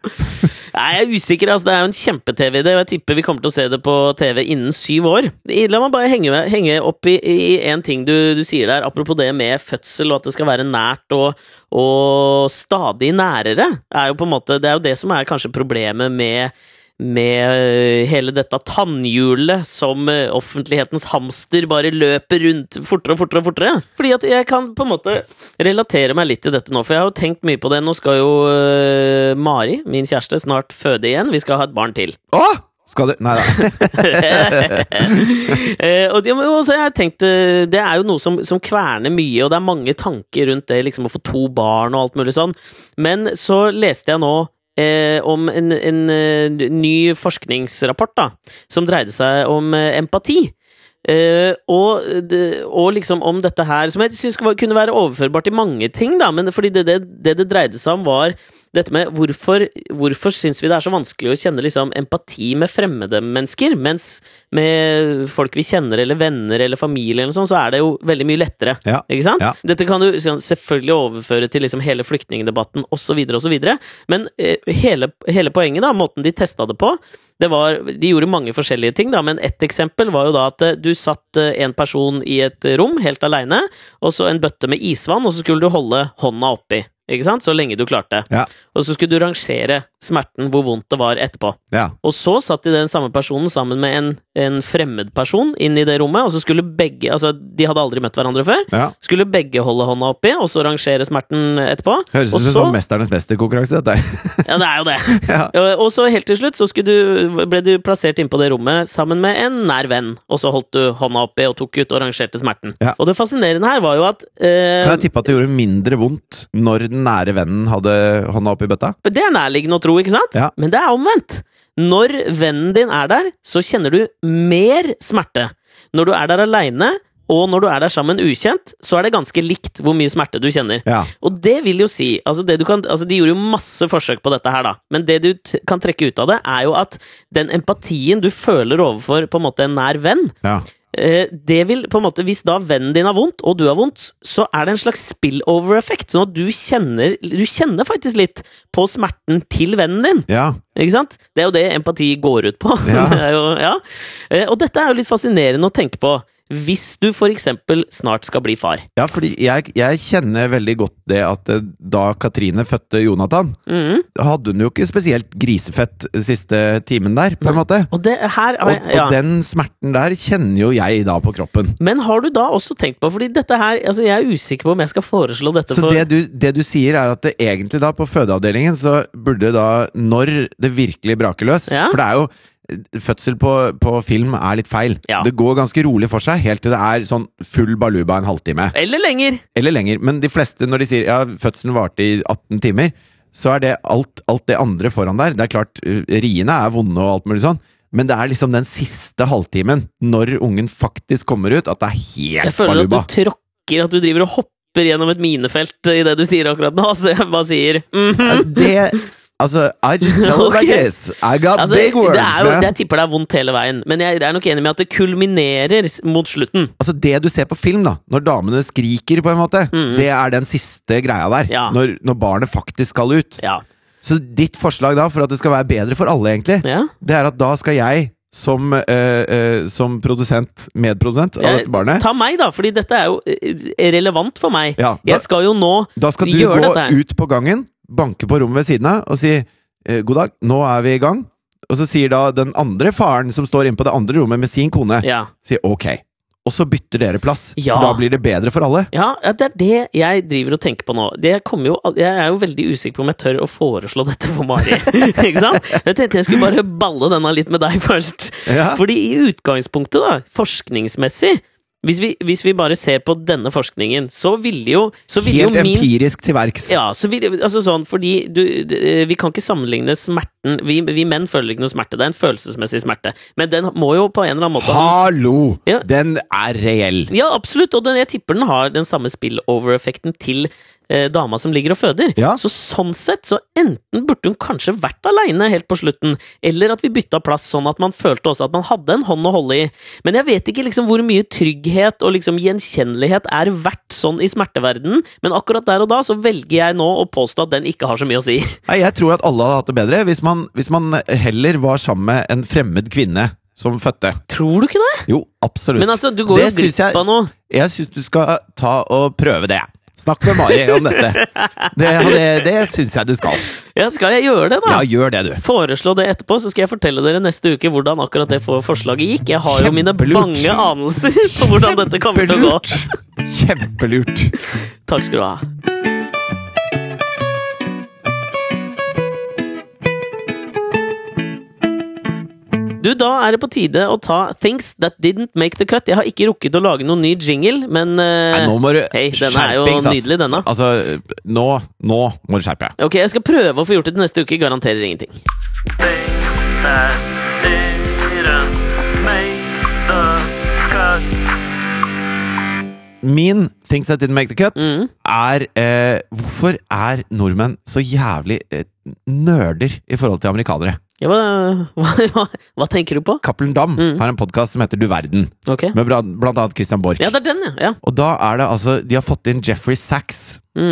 S1: Nei, jeg er usikker. altså Det er jo en kjempe-TV-idé, og jeg tipper vi kommer til å se det på TV innen syv år. La meg bare henge, med, henge opp i én ting du, du sier der, apropos det med fødsel og at det skal være nært og, og stadig nærere. Er jo på en måte, det er jo det som er kanskje problemet med med øh, hele dette tannhjulet som øh, offentlighetens hamster bare løper rundt fortere og fortere. og fortere. Fordi at jeg kan på en måte relatere meg litt til dette nå, for jeg har jo tenkt mye på det. Nå skal jo øh, Mari, min kjæreste, snart føde igjen. Vi skal ha et barn til.
S2: Å! Skal du Nei da.
S1: Eh, og det, men også, jeg har tenkt, eh, det er jo noe som, som kverner mye, og det er mange tanker rundt det liksom, å få to barn og alt mulig sånn. Men så leste jeg nå eh, om en, en eh, ny forskningsrapport da, som dreide seg om eh, empati. Eh, og, det- og liksom om dette her, som jeg syns kunne være overførbart til mange ting, da, men fordi det det, det, det dreide seg om, var dette med hvorfor, hvorfor syns vi det er så vanskelig å kjenne liksom, empati med fremmede mennesker, mens med folk vi kjenner eller venner eller familie eller noe sånt, så er det jo veldig mye lettere.
S2: Ja.
S1: Ikke sant?
S2: Ja.
S1: Dette kan du sånn, selvfølgelig overføre til liksom hele flyktningdebatten osv., osv., men eh, hele, hele poenget, da, måten de testa det på det var, De gjorde mange forskjellige ting, da, men ett eksempel var jo da at eh, du satt eh, en person i et rom helt aleine, og så en bøtte med isvann, og så skulle du holde hånda oppi. Ikke sant? Så lenge du klarte.
S2: Ja.
S1: Og så skulle du rangere smerten, hvor vondt det var etterpå.
S2: Ja.
S1: Og så satt de den samme personen sammen med en, en fremmed person inn i det rommet, og så skulle begge Altså, de hadde aldri møtt hverandre før.
S2: ja.
S1: Skulle begge holde hånda oppi, og så rangere smerten etterpå.
S2: Høres
S1: Og
S2: ut som
S1: så- Eh,
S2: sånn Mesternes mester-konkurranse, dette her.
S1: Ja, det er jo det.
S2: ja.
S1: Ja, Og så helt til slutt så skulle du, ble du plassert inn på det rommet sammen med en nær venn, og så holdt du hånda oppi og tok ut og rangerte smerten.
S2: Ja.
S1: Og det fascinerende her var jo at eh,
S2: Kan jeg tippe at det gjorde mindre vondt når den nære vennen hadde hånda oppi bøtta?
S1: Det er nærliggende å tro, ikke sant?
S2: Ja.
S1: Men det er omvendt. Når vennen din er der, så kjenner du mer smerte. Når du er der aleine, og når du er der sammen ukjent, så er det ganske likt hvor mye smerte du kjenner.
S2: Ja.
S1: Og det vil jo si altså det du kan, altså De gjorde jo masse forsøk på dette her, da. Men det du t kan trekke ut av det, er jo at den empatien du føler overfor på en måte en nær venn,
S2: ja.
S1: Eh, det vil på en måte, Hvis da vennen din har vondt, og du har vondt, så er det en slags spillover-effekt. Sånn at du kjenner, du kjenner faktisk litt på smerten til vennen din.
S2: ja.
S1: Ikke sant? Det er jo det empati går ut på.
S2: Ja.
S1: Det er jo, ja. Eh, Og dette er jo litt fascinerende å tenke på. Hvis du for eksempel snart skal bli far.
S2: Ja, fordi jeg, jeg kjenner veldig godt det at eh, da Katrine fødte Jonathan,
S1: Mhm.
S2: hadde hun jo ikke spesielt grisefett siste timen der, på en måte.
S1: Og det her
S2: Og, og
S1: ja.
S2: den smerten der kjenner jo jeg da på kroppen.
S1: Men har du da også tenkt på Fordi dette her, altså jeg er usikker på om jeg skal foreslå dette
S2: Så
S1: for
S2: det du, det du sier er at det egentlig da på fødeavdelingen så burde da, når det virkelig braker løs
S1: Ja.
S2: For det er jo Fødsel på, på film er litt feil.
S1: Ja.
S2: Det går ganske rolig for seg helt til det er sånn full baluba en halvtime.
S1: Eller lenger!
S2: Eller lenger. Men de fleste, når de sier ja, fødselen varte i 18 timer, så er det alt, alt det andre foran der. Det er klart, uh, riene er vonde og alt mulig sånn, men det er liksom den siste halvtimen, når ungen faktisk kommer ut, at det er
S1: Jeg
S2: helt
S1: føler at du
S2: baluba.
S1: tråkker, at du driver og hopper gjennom et minefelt i det du sier akkurat nå. Så jeg bare sier mhm.
S2: Det Altså, I just tell it like
S1: Ok.
S2: this. I got
S1: Altså,
S2: big words,
S1: det er jo,
S2: man.
S1: jeg tipper det er vondt hele veien, men jeg er nok enig med at det kulminerer s- mot slutten.
S2: Altså Det du ser på film, da når damene skriker, på en måte det er den siste greia der.
S1: Mm. Ja.
S2: Når, når barnet faktisk skal ut.
S1: Ja.
S2: Så ditt forslag da for at det skal være bedre for alle, egentlig,
S1: ja.
S2: Det er at da skal jeg som, eh, eh, som produsent, medprodusent av
S1: Jeg-
S2: dette barnet
S1: Ta meg, da, fordi dette er jo eh, relevant for meg.
S2: Ja, da-
S1: jeg skal jo nå
S2: Da skal du
S1: gjør
S2: gå
S1: dette her.
S2: ut på gangen, banke på rommet ved siden av og si eh, 'god dag, nå er vi i gang'. Og så sier da den andre faren som står inne på det andre rommet med sin kone,
S1: Ja.
S2: sier 'ok'. Og så bytter dere plass,
S1: Ja.
S2: for da blir det bedre for alle.
S1: Ja, ja, det er det jeg driver og tenker på nå. Det kommer jo, al- jeg er jo veldig usikker på om jeg tør å foreslå dette for Mari. ikke sant? Jeg tenkte jeg skulle bare balle denne litt med deg først.
S2: Ja.
S1: Fordi i utgangspunktet, da, forskningsmessig hvis vi, hvis vi bare ser på denne forskningen, så ville jo, så ville jo
S2: Helt
S1: min
S2: empirisk til verks.
S1: ja, så vi, altså sånn, fordi du, d- eh, vi kan ikke sammenligne smerten vi, vi menn føler ikke noe smerte, det er en følelsesmessig smerte. Men den må jo på en eller annen måte
S2: Hallo!
S1: Ja.
S2: Den er reell.
S1: Ja, absolutt, og den, jeg tipper den har den samme spillover-effekten til eh, dama som ligger og føder.
S2: Ja.
S1: Så sånn sett, så enten burde hun kanskje vært aleine helt på slutten, eller at vi bytta plass sånn at man følte også at man hadde en hånd å holde i. Men jeg vet ikke liksom hvor mye trygghet og liksom gjenkjennelighet er verdt sånn i smerteverdenen, men akkurat der og da så velger jeg nå å påstå at den ikke har så mye å si.
S2: Nei, jeg tror at alle hadde hatt det bedre hvis man, hvis man heller var sammen med en fremmed kvinne som fødte.
S1: Tror du ikke det?
S2: Jo, absolutt.
S1: Men altså, du går jo
S2: Det syns
S1: glipp
S2: jeg-
S1: av noe.
S2: Jeg syns du skal eh, ta og prøve det. Snakk med Mari om dette. Det, det, det syns jeg du skal.
S1: Ja, skal jeg gjøre det, da?
S2: Ja, gjør det, du.
S1: foreslå det etterpå, så skal jeg fortelle dere neste uke hvordan akkurat det for- forslaget gikk. Jeg har jo mine
S2: Kjempelurt.
S1: bange anelser på hvordan dette kommer til å gå.
S2: Kjempelurt.
S1: Takk skal du ha. Du, Da er det på tide å ta Things That Didn't Make The Cut. Jeg har ikke rukket å lage noen ny jingle, men eh,
S2: Nei, nå må du
S1: Hei, denne er jo
S2: skjerpings, ass.
S1: nydelig, denne.
S2: Altså, nå, nå må du skjerpe deg.
S1: Ok, jeg skal prøve å få gjort det til neste uke. Garanterer ingenting.
S5: things that didn't make the cut.
S2: Min Things That Didn't Make The Cut
S1: Mm.
S2: er eh, Hvorfor er nordmenn så jævlig eh, nerder i forhold til amerikanere?
S1: Ja, hva, hva, hva, hva tenker du på?
S2: Cappelen Dam
S1: Mm.
S2: har en podkast som heter Du verden,
S1: Ok.
S2: med bra- blant annet Christian Borch.
S1: Ja, det er den, ja. ja.
S2: Og da er det altså De har fått inn Jeffrey Sachs,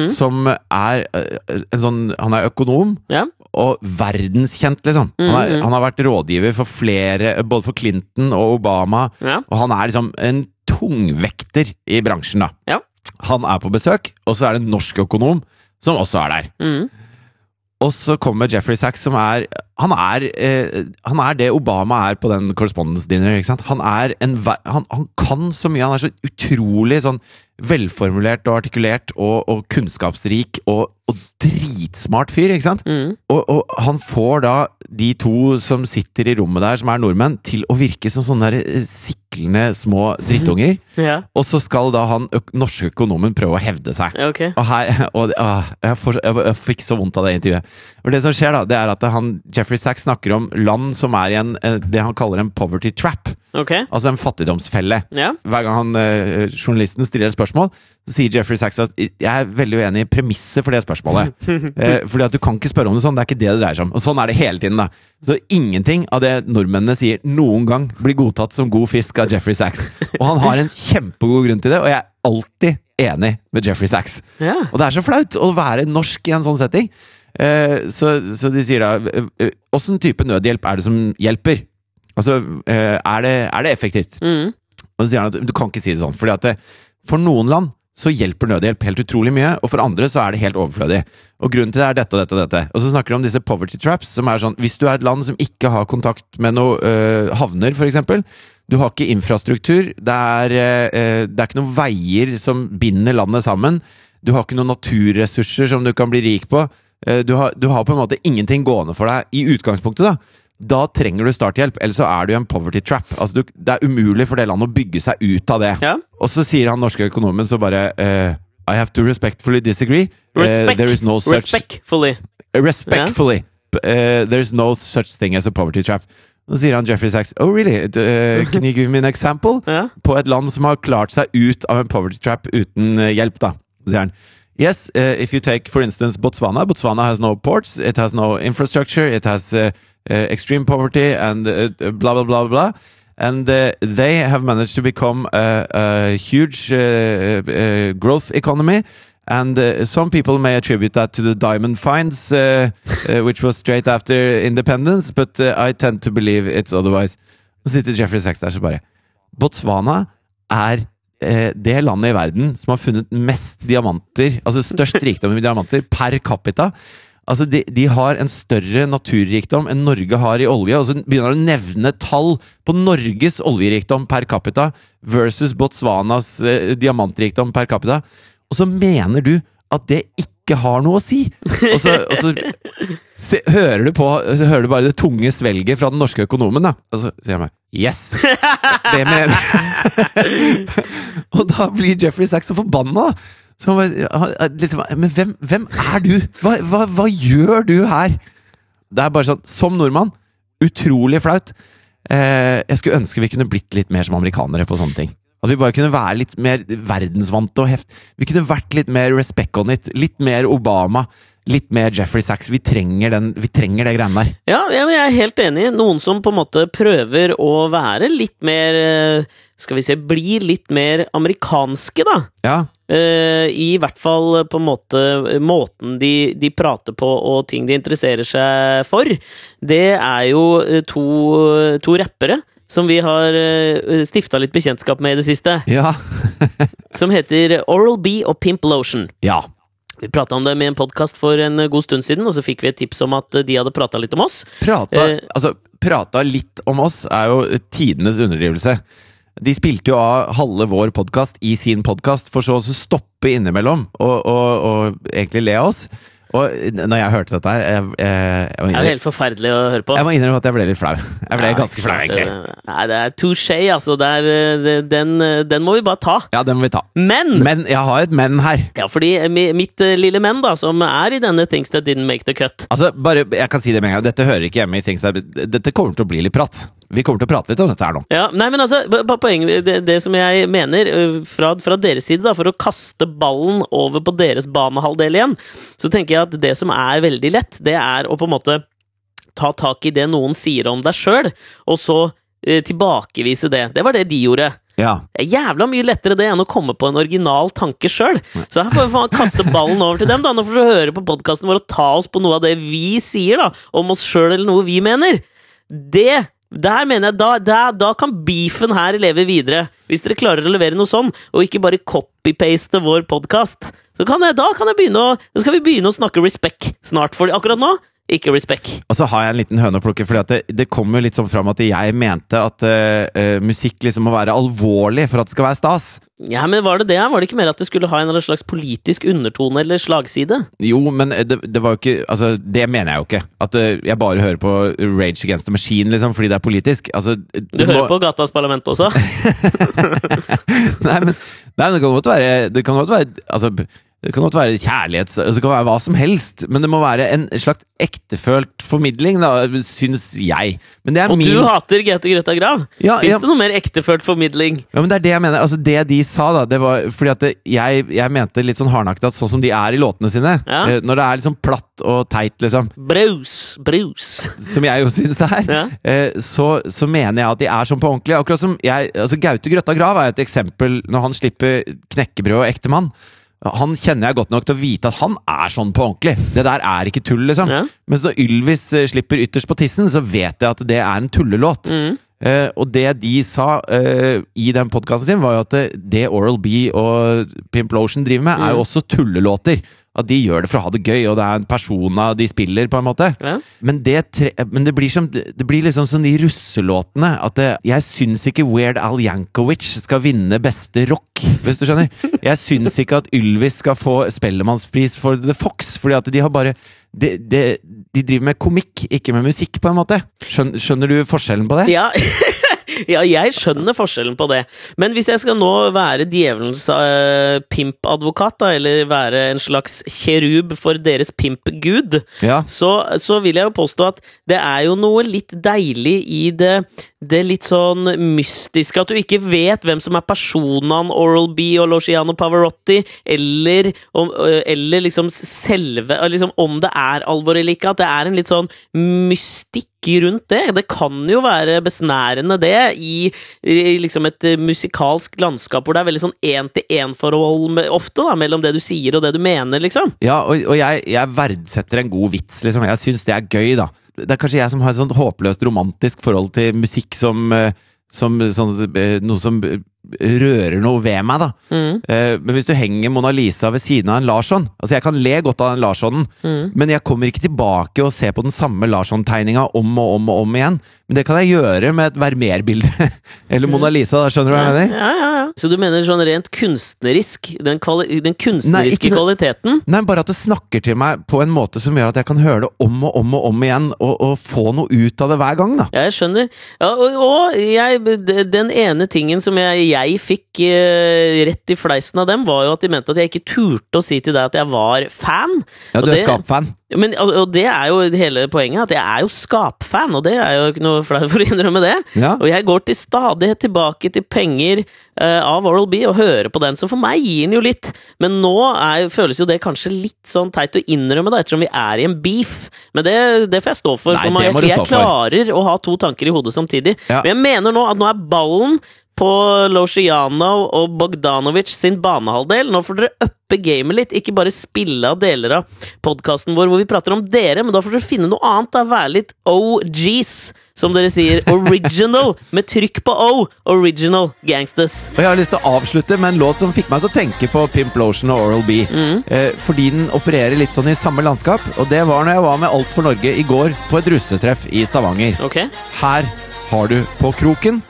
S2: som er eh, en sånn Han er økonom.
S1: ja.
S2: og verdenskjent, liksom. Han, er, han har vært rådgiver for flere, både for Clinton og Obama,
S1: Ja.
S2: og han er liksom en tungvekter i bransjen, da.
S1: Ja.
S2: Han er på besøk, og så er det en norsk økonom som også er der.
S1: Mm.
S2: Og så kommer Jeffrey Sachs, som er Han er, eh, han er det Obama er på den correspondence dinner. ikke sant? Han, er en, ver- han, han kan så mye. Han er så utrolig sånn velformulert og artikulert og, og kunnskapsrik og, og dritsmart fyr, ikke
S1: Mm.
S2: sant? Og, og han får da de to som sitter i rommet der, som er nordmenn, til å virke som sånne der eh, siklende små drittunger.
S1: ja.
S2: Og så skal da han øk norske økonomen prøve å hevde seg.
S1: ja, ok.
S2: Og her, og, det- ah, jeg, får, jeg, jeg fikk så vondt av det intervjuet. For det som skjer da, det er at han, Jeffrey Sachs snakker om land som er i en, eh, det han kaller en poverty trap.
S1: Ok.
S2: Altså en fattigdomsfelle.
S1: Ja.
S2: Hver gang han, eh, journalisten stiller et spørsmål, så sier Jeffrey Sachs at jeg er veldig uenig i premisset for det spørsmålet. Eh, fordi at du kan ikke spørre om det sånn, det er ikke det det dreier seg om. Og sånn er det hele tiden, da. Så ingenting av det nordmennene sier noen gang, blir godtatt som god fisk av Jeffrey Sachs. Og han har en kjempegod grunn til det, og jeg er alltid enig med Jeffrey Sachs.
S1: Ja.
S2: Og det er så flaut å være norsk i en sånn setting. Eh, så, så de sier da eh, eh, Åssen type nødhjelp er det som hjelper? Altså, eh, er det, er det effektivt?
S1: Mm.
S2: Og så sier han at du kan ikke si det sånn, fordi at det, for noen land så hjelper nødhjelp helt utrolig mye, og for andre så er det helt overflødig. Og grunnen til det er dette og dette og dette. Og så snakker de om disse poverty traps, som er sånn, hvis du er et land som ikke har kontakt med noe øh, havner, for eksempel, du har ikke infrastruktur, det er, øh, øh, det er ikke noen veier som binder landet sammen, du har ikke noen naturressurser som du kan bli rik på, øh, du, har, du har på en måte ingenting gående for deg i utgangspunktet da. Da trenger du starthjelp, ellers så er du i en poverty trap. Altså, du, det er umulig for det landet å bygge seg ut av det.
S1: Ja.
S2: Og så sier han norske økonomen så bare eh, I have to respectfully disagree. Eh,
S1: Respect.
S2: there is no such
S1: Respectfully.
S2: Respectfully. eh, there is no such thing as a poverty trap. Så sier han Jeffrey Sachs Oh really? Eh, can you give me an example?
S1: Ja.
S2: På et land som har klart seg ut av en poverty trap uten eh, hjelp, da. Så sier han Yes, eh, if you take for instance Botswana Botswana has no ports, it has no infrastructure, it has eh, eh, extreme poverty and eh, blah, blah, blah, blah. And eh, they have managed to become a, a huge eh, eh, growth economy. And eh, some people may attribute that to the diamond finds, eh, eh, which was straight after independence, but eh, I tend to believe it's otherwise. Så sitter Jeffrey Sachs der så bare Botswana er eh, det landet i verden som har funnet mest diamanter, altså størst rikdom i diamanter per capita. Altså de, de har en større naturrikdom enn Norge har i olje. Og så begynner han å nevne tall på Norges oljerikdom per capita versus Botswanas eh, diamantrikdom per capita. Og så mener du at det ikke har noe å si! Og så, og så se, hører, du på, så hører du bare det tunge svelget fra den norske økonomen, da. Og så sier han bare Yes! Det mener Og da blir Jeffrey Sachs så forbanna. da. Så han bare, han- han liksom, men hvem, hvem er du? Hva, hva, hva gjør du her? Det er bare sånn, som nordmann, utrolig flaut. Eh, jeg skulle ønske vi kunne blitt litt mer som amerikanere på sånne ting. At vi bare kunne være litt mer verdensvante og heft. Vi kunne vært litt mer respect on it. Litt mer Obama. Litt mer Jeffrey Sachs. Vi trenger, den, vi trenger det greiene der.
S1: Ja, ja, men jeg er helt enig. Noen som på en måte prøver å være litt mer eh, Skal vi se Bli litt mer amerikanske, da.
S2: Ja,
S1: Eh, I hvert fall eh, på en måte eh, måten de, de prater på og ting de interesserer seg for. Det er jo eh, to, to rappere som vi har stifta litt bekjentskap med i det siste.
S2: ja.
S1: Som heter Oral B og Pimp Lotion.
S2: ja.
S1: Vi prata om dem i en podkast for en god stund siden, og så fikk vi et tips om at eh, de hadde prata litt om oss.
S2: Prata,
S1: Eh.
S2: altså, prata litt om oss er jo tidenes underdrivelse. De spilte jo av halve vår podkast i sin podkast, for så å stoppe innimellom og, og, og egentlig le av oss. Og når jeg hørte dette her Jeg, jeg, jeg, må,
S1: Det er jo
S2: innrømme,
S1: helt forferdelig å høre på.
S2: jeg må innrømme at jeg ble litt flau. Jeg ble
S1: Ja, eh.
S2: ganske flau,
S1: klart,
S2: egentlig.
S1: det- Nei, det er touché, altså. Det er, eh, det- den, eh, den må vi bare ta.
S2: Ja, den må vi ta.
S1: Men!
S2: Men jeg har et men her.
S1: Ja, fordi eh, mi- mitt eh, lille menn, da, som er i denne Things That Didn't Make The Cut
S2: Altså, bare, jeg kan si det med en gang. Dette hører ikke hjemme i Things That- Dette kommer til å bli litt prat. Vi kommer til å prate litt om dette her nå.
S1: Ja, nei, men altså, ba- ba- poeng, det, det som jeg mener, ø, fra, fra deres side, da, for å kaste ballen over på deres banehalvdel igjen, så tenker jeg at det som er veldig lett, det er å på en måte ta tak i det noen sier om deg sjøl, og så ø, tilbakevise det. Det var det de gjorde.
S2: Ja.
S1: Det er jævla mye lettere det enn å komme på en original tanke sjøl. Så her får vi faen kaste ballen over til dem. da Nå får du høre på podkasten vår og ta oss på noe av det vi sier da om oss sjøl, eller noe vi mener. Det der mener jeg, da, da, da kan beefen her leve videre. Hvis dere klarer å levere noe sånn, og ikke bare copy-paste vår podkast, så kan jeg, da kan jeg begynne å, da skal vi begynne å snakke respect snart. For akkurat nå ikke respect.
S2: Og så har jeg en liten høne å plukke, for det, det kommer jo litt sånn fram at jeg mente at eh, eh, musikk liksom må være alvorlig for at det skal være stas.
S1: Ja, men Var det det? Var det ikke mer at det skulle ha en eller annen slags politisk undertone eller slagside?
S2: Jo, men eh, det, det var jo ikke Altså, det mener jeg jo ikke. At eh, jeg bare hører på Rage Against the Machine liksom, fordi det er politisk. Altså,
S1: Du hører på Gatas Parlament også?
S2: nei, men, nei, men det kan godt være Det kan godt være, altså, det kan godt være kjærlighets... Altså, det kan være hva som helst, men det må være en slags ektefølt formidling, da, syns jeg. Men det er
S1: Og
S2: min
S1: du hater Gaute Grøtta Grav?
S2: Ja,
S1: Fins
S2: ja.
S1: det noe mer ektefølt formidling?
S2: Ja, men Det er det jeg mener. Altså, det de sa, da, det var fordi at det, jeg, jeg mente litt sånn hardnakta at sånn som de er i låtene sine,
S1: Ja.
S2: eh, når det er litt sånn platt og teit, liksom,
S1: Braus, braus.
S2: som jeg jo syns det er,
S1: Ja.
S2: eh, så, så mener jeg at de er sånn på ordentlig. Akkurat som jeg, altså Gaute Grøtta Grav er et eksempel når han slipper knekkebrød og ektemann. Han kjenner jeg godt nok til å vite at han er sånn på ordentlig. Det der er ikke tull, liksom.
S1: Ja.
S2: Mens når Ylvis eh, slipper Ytterst på tissen, så vet jeg at det er en tullelåt.
S1: Mm.
S2: Eh, og det de sa eh, i den podkasten sin, var jo at det, det Oral B og Pimplotion driver med,
S1: Mm.
S2: er jo også tullelåter. At de gjør det for å ha det gøy, og det er en persona de spiller, på en måte.
S1: Ja.
S2: Men, det, tre, men det, blir som, det blir liksom som de russelåtene. At det, jeg syns ikke Weird Al Jankovic skal vinne beste rock, hvis du skjønner. Jeg syns ikke at Ylvis skal få Spellemannspris for The Fox, fordi at de har bare de, de, de driver med komikk, ikke med musikk, på en måte. Skjønner, skjønner du forskjellen på det?
S1: Ja. ja, jeg skjønner forskjellen på det. Men hvis jeg skal nå være djevelens eh, pimpadvokat, da, eller være en slags kjerub for deres pimpgud,
S2: Ja.
S1: så, så vil jeg jo påstå at det er jo noe litt deilig i det, det litt sånn mystiske, at du ikke vet hvem som er personene Oral-B og Luciano Pavarotti, eller, om, ø, eller liksom selve ø, liksom Om det er alvor eller ikke, at det er en litt sånn mystikk rundt det. Det kan jo være besnærende, det, i, i liksom et ø, musikalsk landskap hvor det er veldig sånn én-til-én-forhold med- ofte, da, mellom det du sier og det du mener, liksom.
S2: Ja, og, og jeg, jeg verdsetter en god vits, liksom. Jeg syns det er gøy, da. Det er kanskje jeg som har et sånt håpløst romantisk forhold til musikk som, eh, som sånn, eh, noe som eh, rører noe ved meg, da. Eh, Men hvis du henger Mona Lisa ved siden av en Larsson Altså, jeg kan le godt av den Larssonen, men jeg kommer ikke tilbake og ser på den samme Larsson-tegninga om og om og om igjen. Men det kan jeg gjøre med et Vermeer-bilde. Eller Mona Lisa, da. Skjønner du hva jeg mener?
S1: Ja, ja, ja. Så du mener sånn rent kunstnerisk? Den, kvali den
S2: Nei,
S1: kunstneriske
S2: ikke noe-
S1: kvaliteten?
S2: Nei, bare at det snakker til meg på en måte som gjør at jeg kan høre det om og om og om igjen, og, og få noe ut av det hver gang, da.
S1: Ja, jeg skjønner. Ja, og og jeg, d- den ene tingen som jeg, jeg fikk eh, rett i fleisen av dem, var jo at de mente at jeg ikke turte å si til deg at jeg var fan.
S2: Ja,
S1: Og
S2: du er
S1: det-
S2: skapfan.
S1: Men, og, og det er jo hele poenget, at jeg er jo skapfan, og det er jo ikke noe flaut for å innrømme det.
S2: Ja.
S1: Og jeg går til stadighet tilbake til penger eh, av Oral B og hører på den, så for meg gir den jo litt. Men nå er, føles jo det kanskje litt sånn teit å innrømme, da, ettersom vi er i en beef. Men det, det får jeg stå for.
S2: Nei,
S1: for meg,
S2: det må du
S1: jeg, jeg
S2: stå for.
S1: klarer å ha to tanker i hodet samtidig.
S2: Ja.
S1: Men jeg mener nå at nå er ballen på Losjiano og Bogdanovic sin banehalvdel. Nå får dere uppe gamet litt, ikke bare spille av deler av podkasten vår hvor vi prater om dere, men da får dere finne noe annet. da, Være litt OGs, som dere sier. Original, med trykk på O. Original Gangsters.
S2: Og jeg har lyst til å avslutte med en låt som fikk meg til å tenke på Pimplotion og Oral B.
S1: Mm.
S2: Eh, fordi den opererer litt sånn i samme landskap, og det var når jeg var med Alt for Norge i går på et russetreff i Stavanger.
S1: Ok?
S2: Her har du På kroken.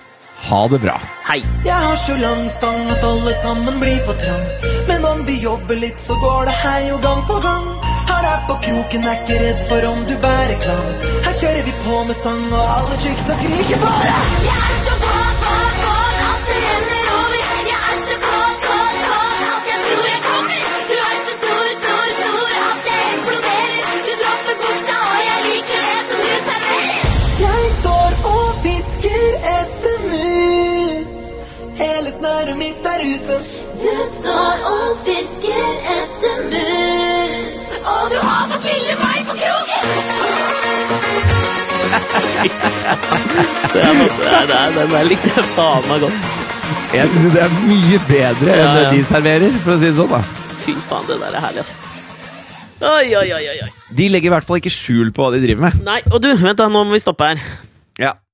S2: Ha det bra.
S1: Hei.
S6: Jeg har så lang stang at alle sammen blir for trang. Men om vi jobber litt, så går det hei og gang på gang. Her er på kroken, er ikke redd for om du bærer klam. Her kjører vi på med sang, og alle chicksa skriker bare.
S7: Jeg er så kåt, kåt, kåt at det renner over. Jeg er så kåt, kåt, kåt at jeg tror jeg kommer. Du er så stor, stor, stor at jeg eksploderer. Du dropper buksa, og jeg liker det som du serverer.
S6: Jeg står og hvisker
S7: skal du ha for ville meg på kroken!
S1: Det er, bare- det er, den der likte jeg faen meg godt.
S2: Jeg syns det er mye bedre enn
S1: Ja, ja.
S2: det de serverer, for å si det sånn. da.
S1: Fy faen, det der er herlig, ass. Oi, oi, oi, oi, oi.
S2: De legger i hvert fall ikke skjul på hva de driver med.
S1: Nei, og du, vent da, nå må vi stoppe her.
S2: Ja.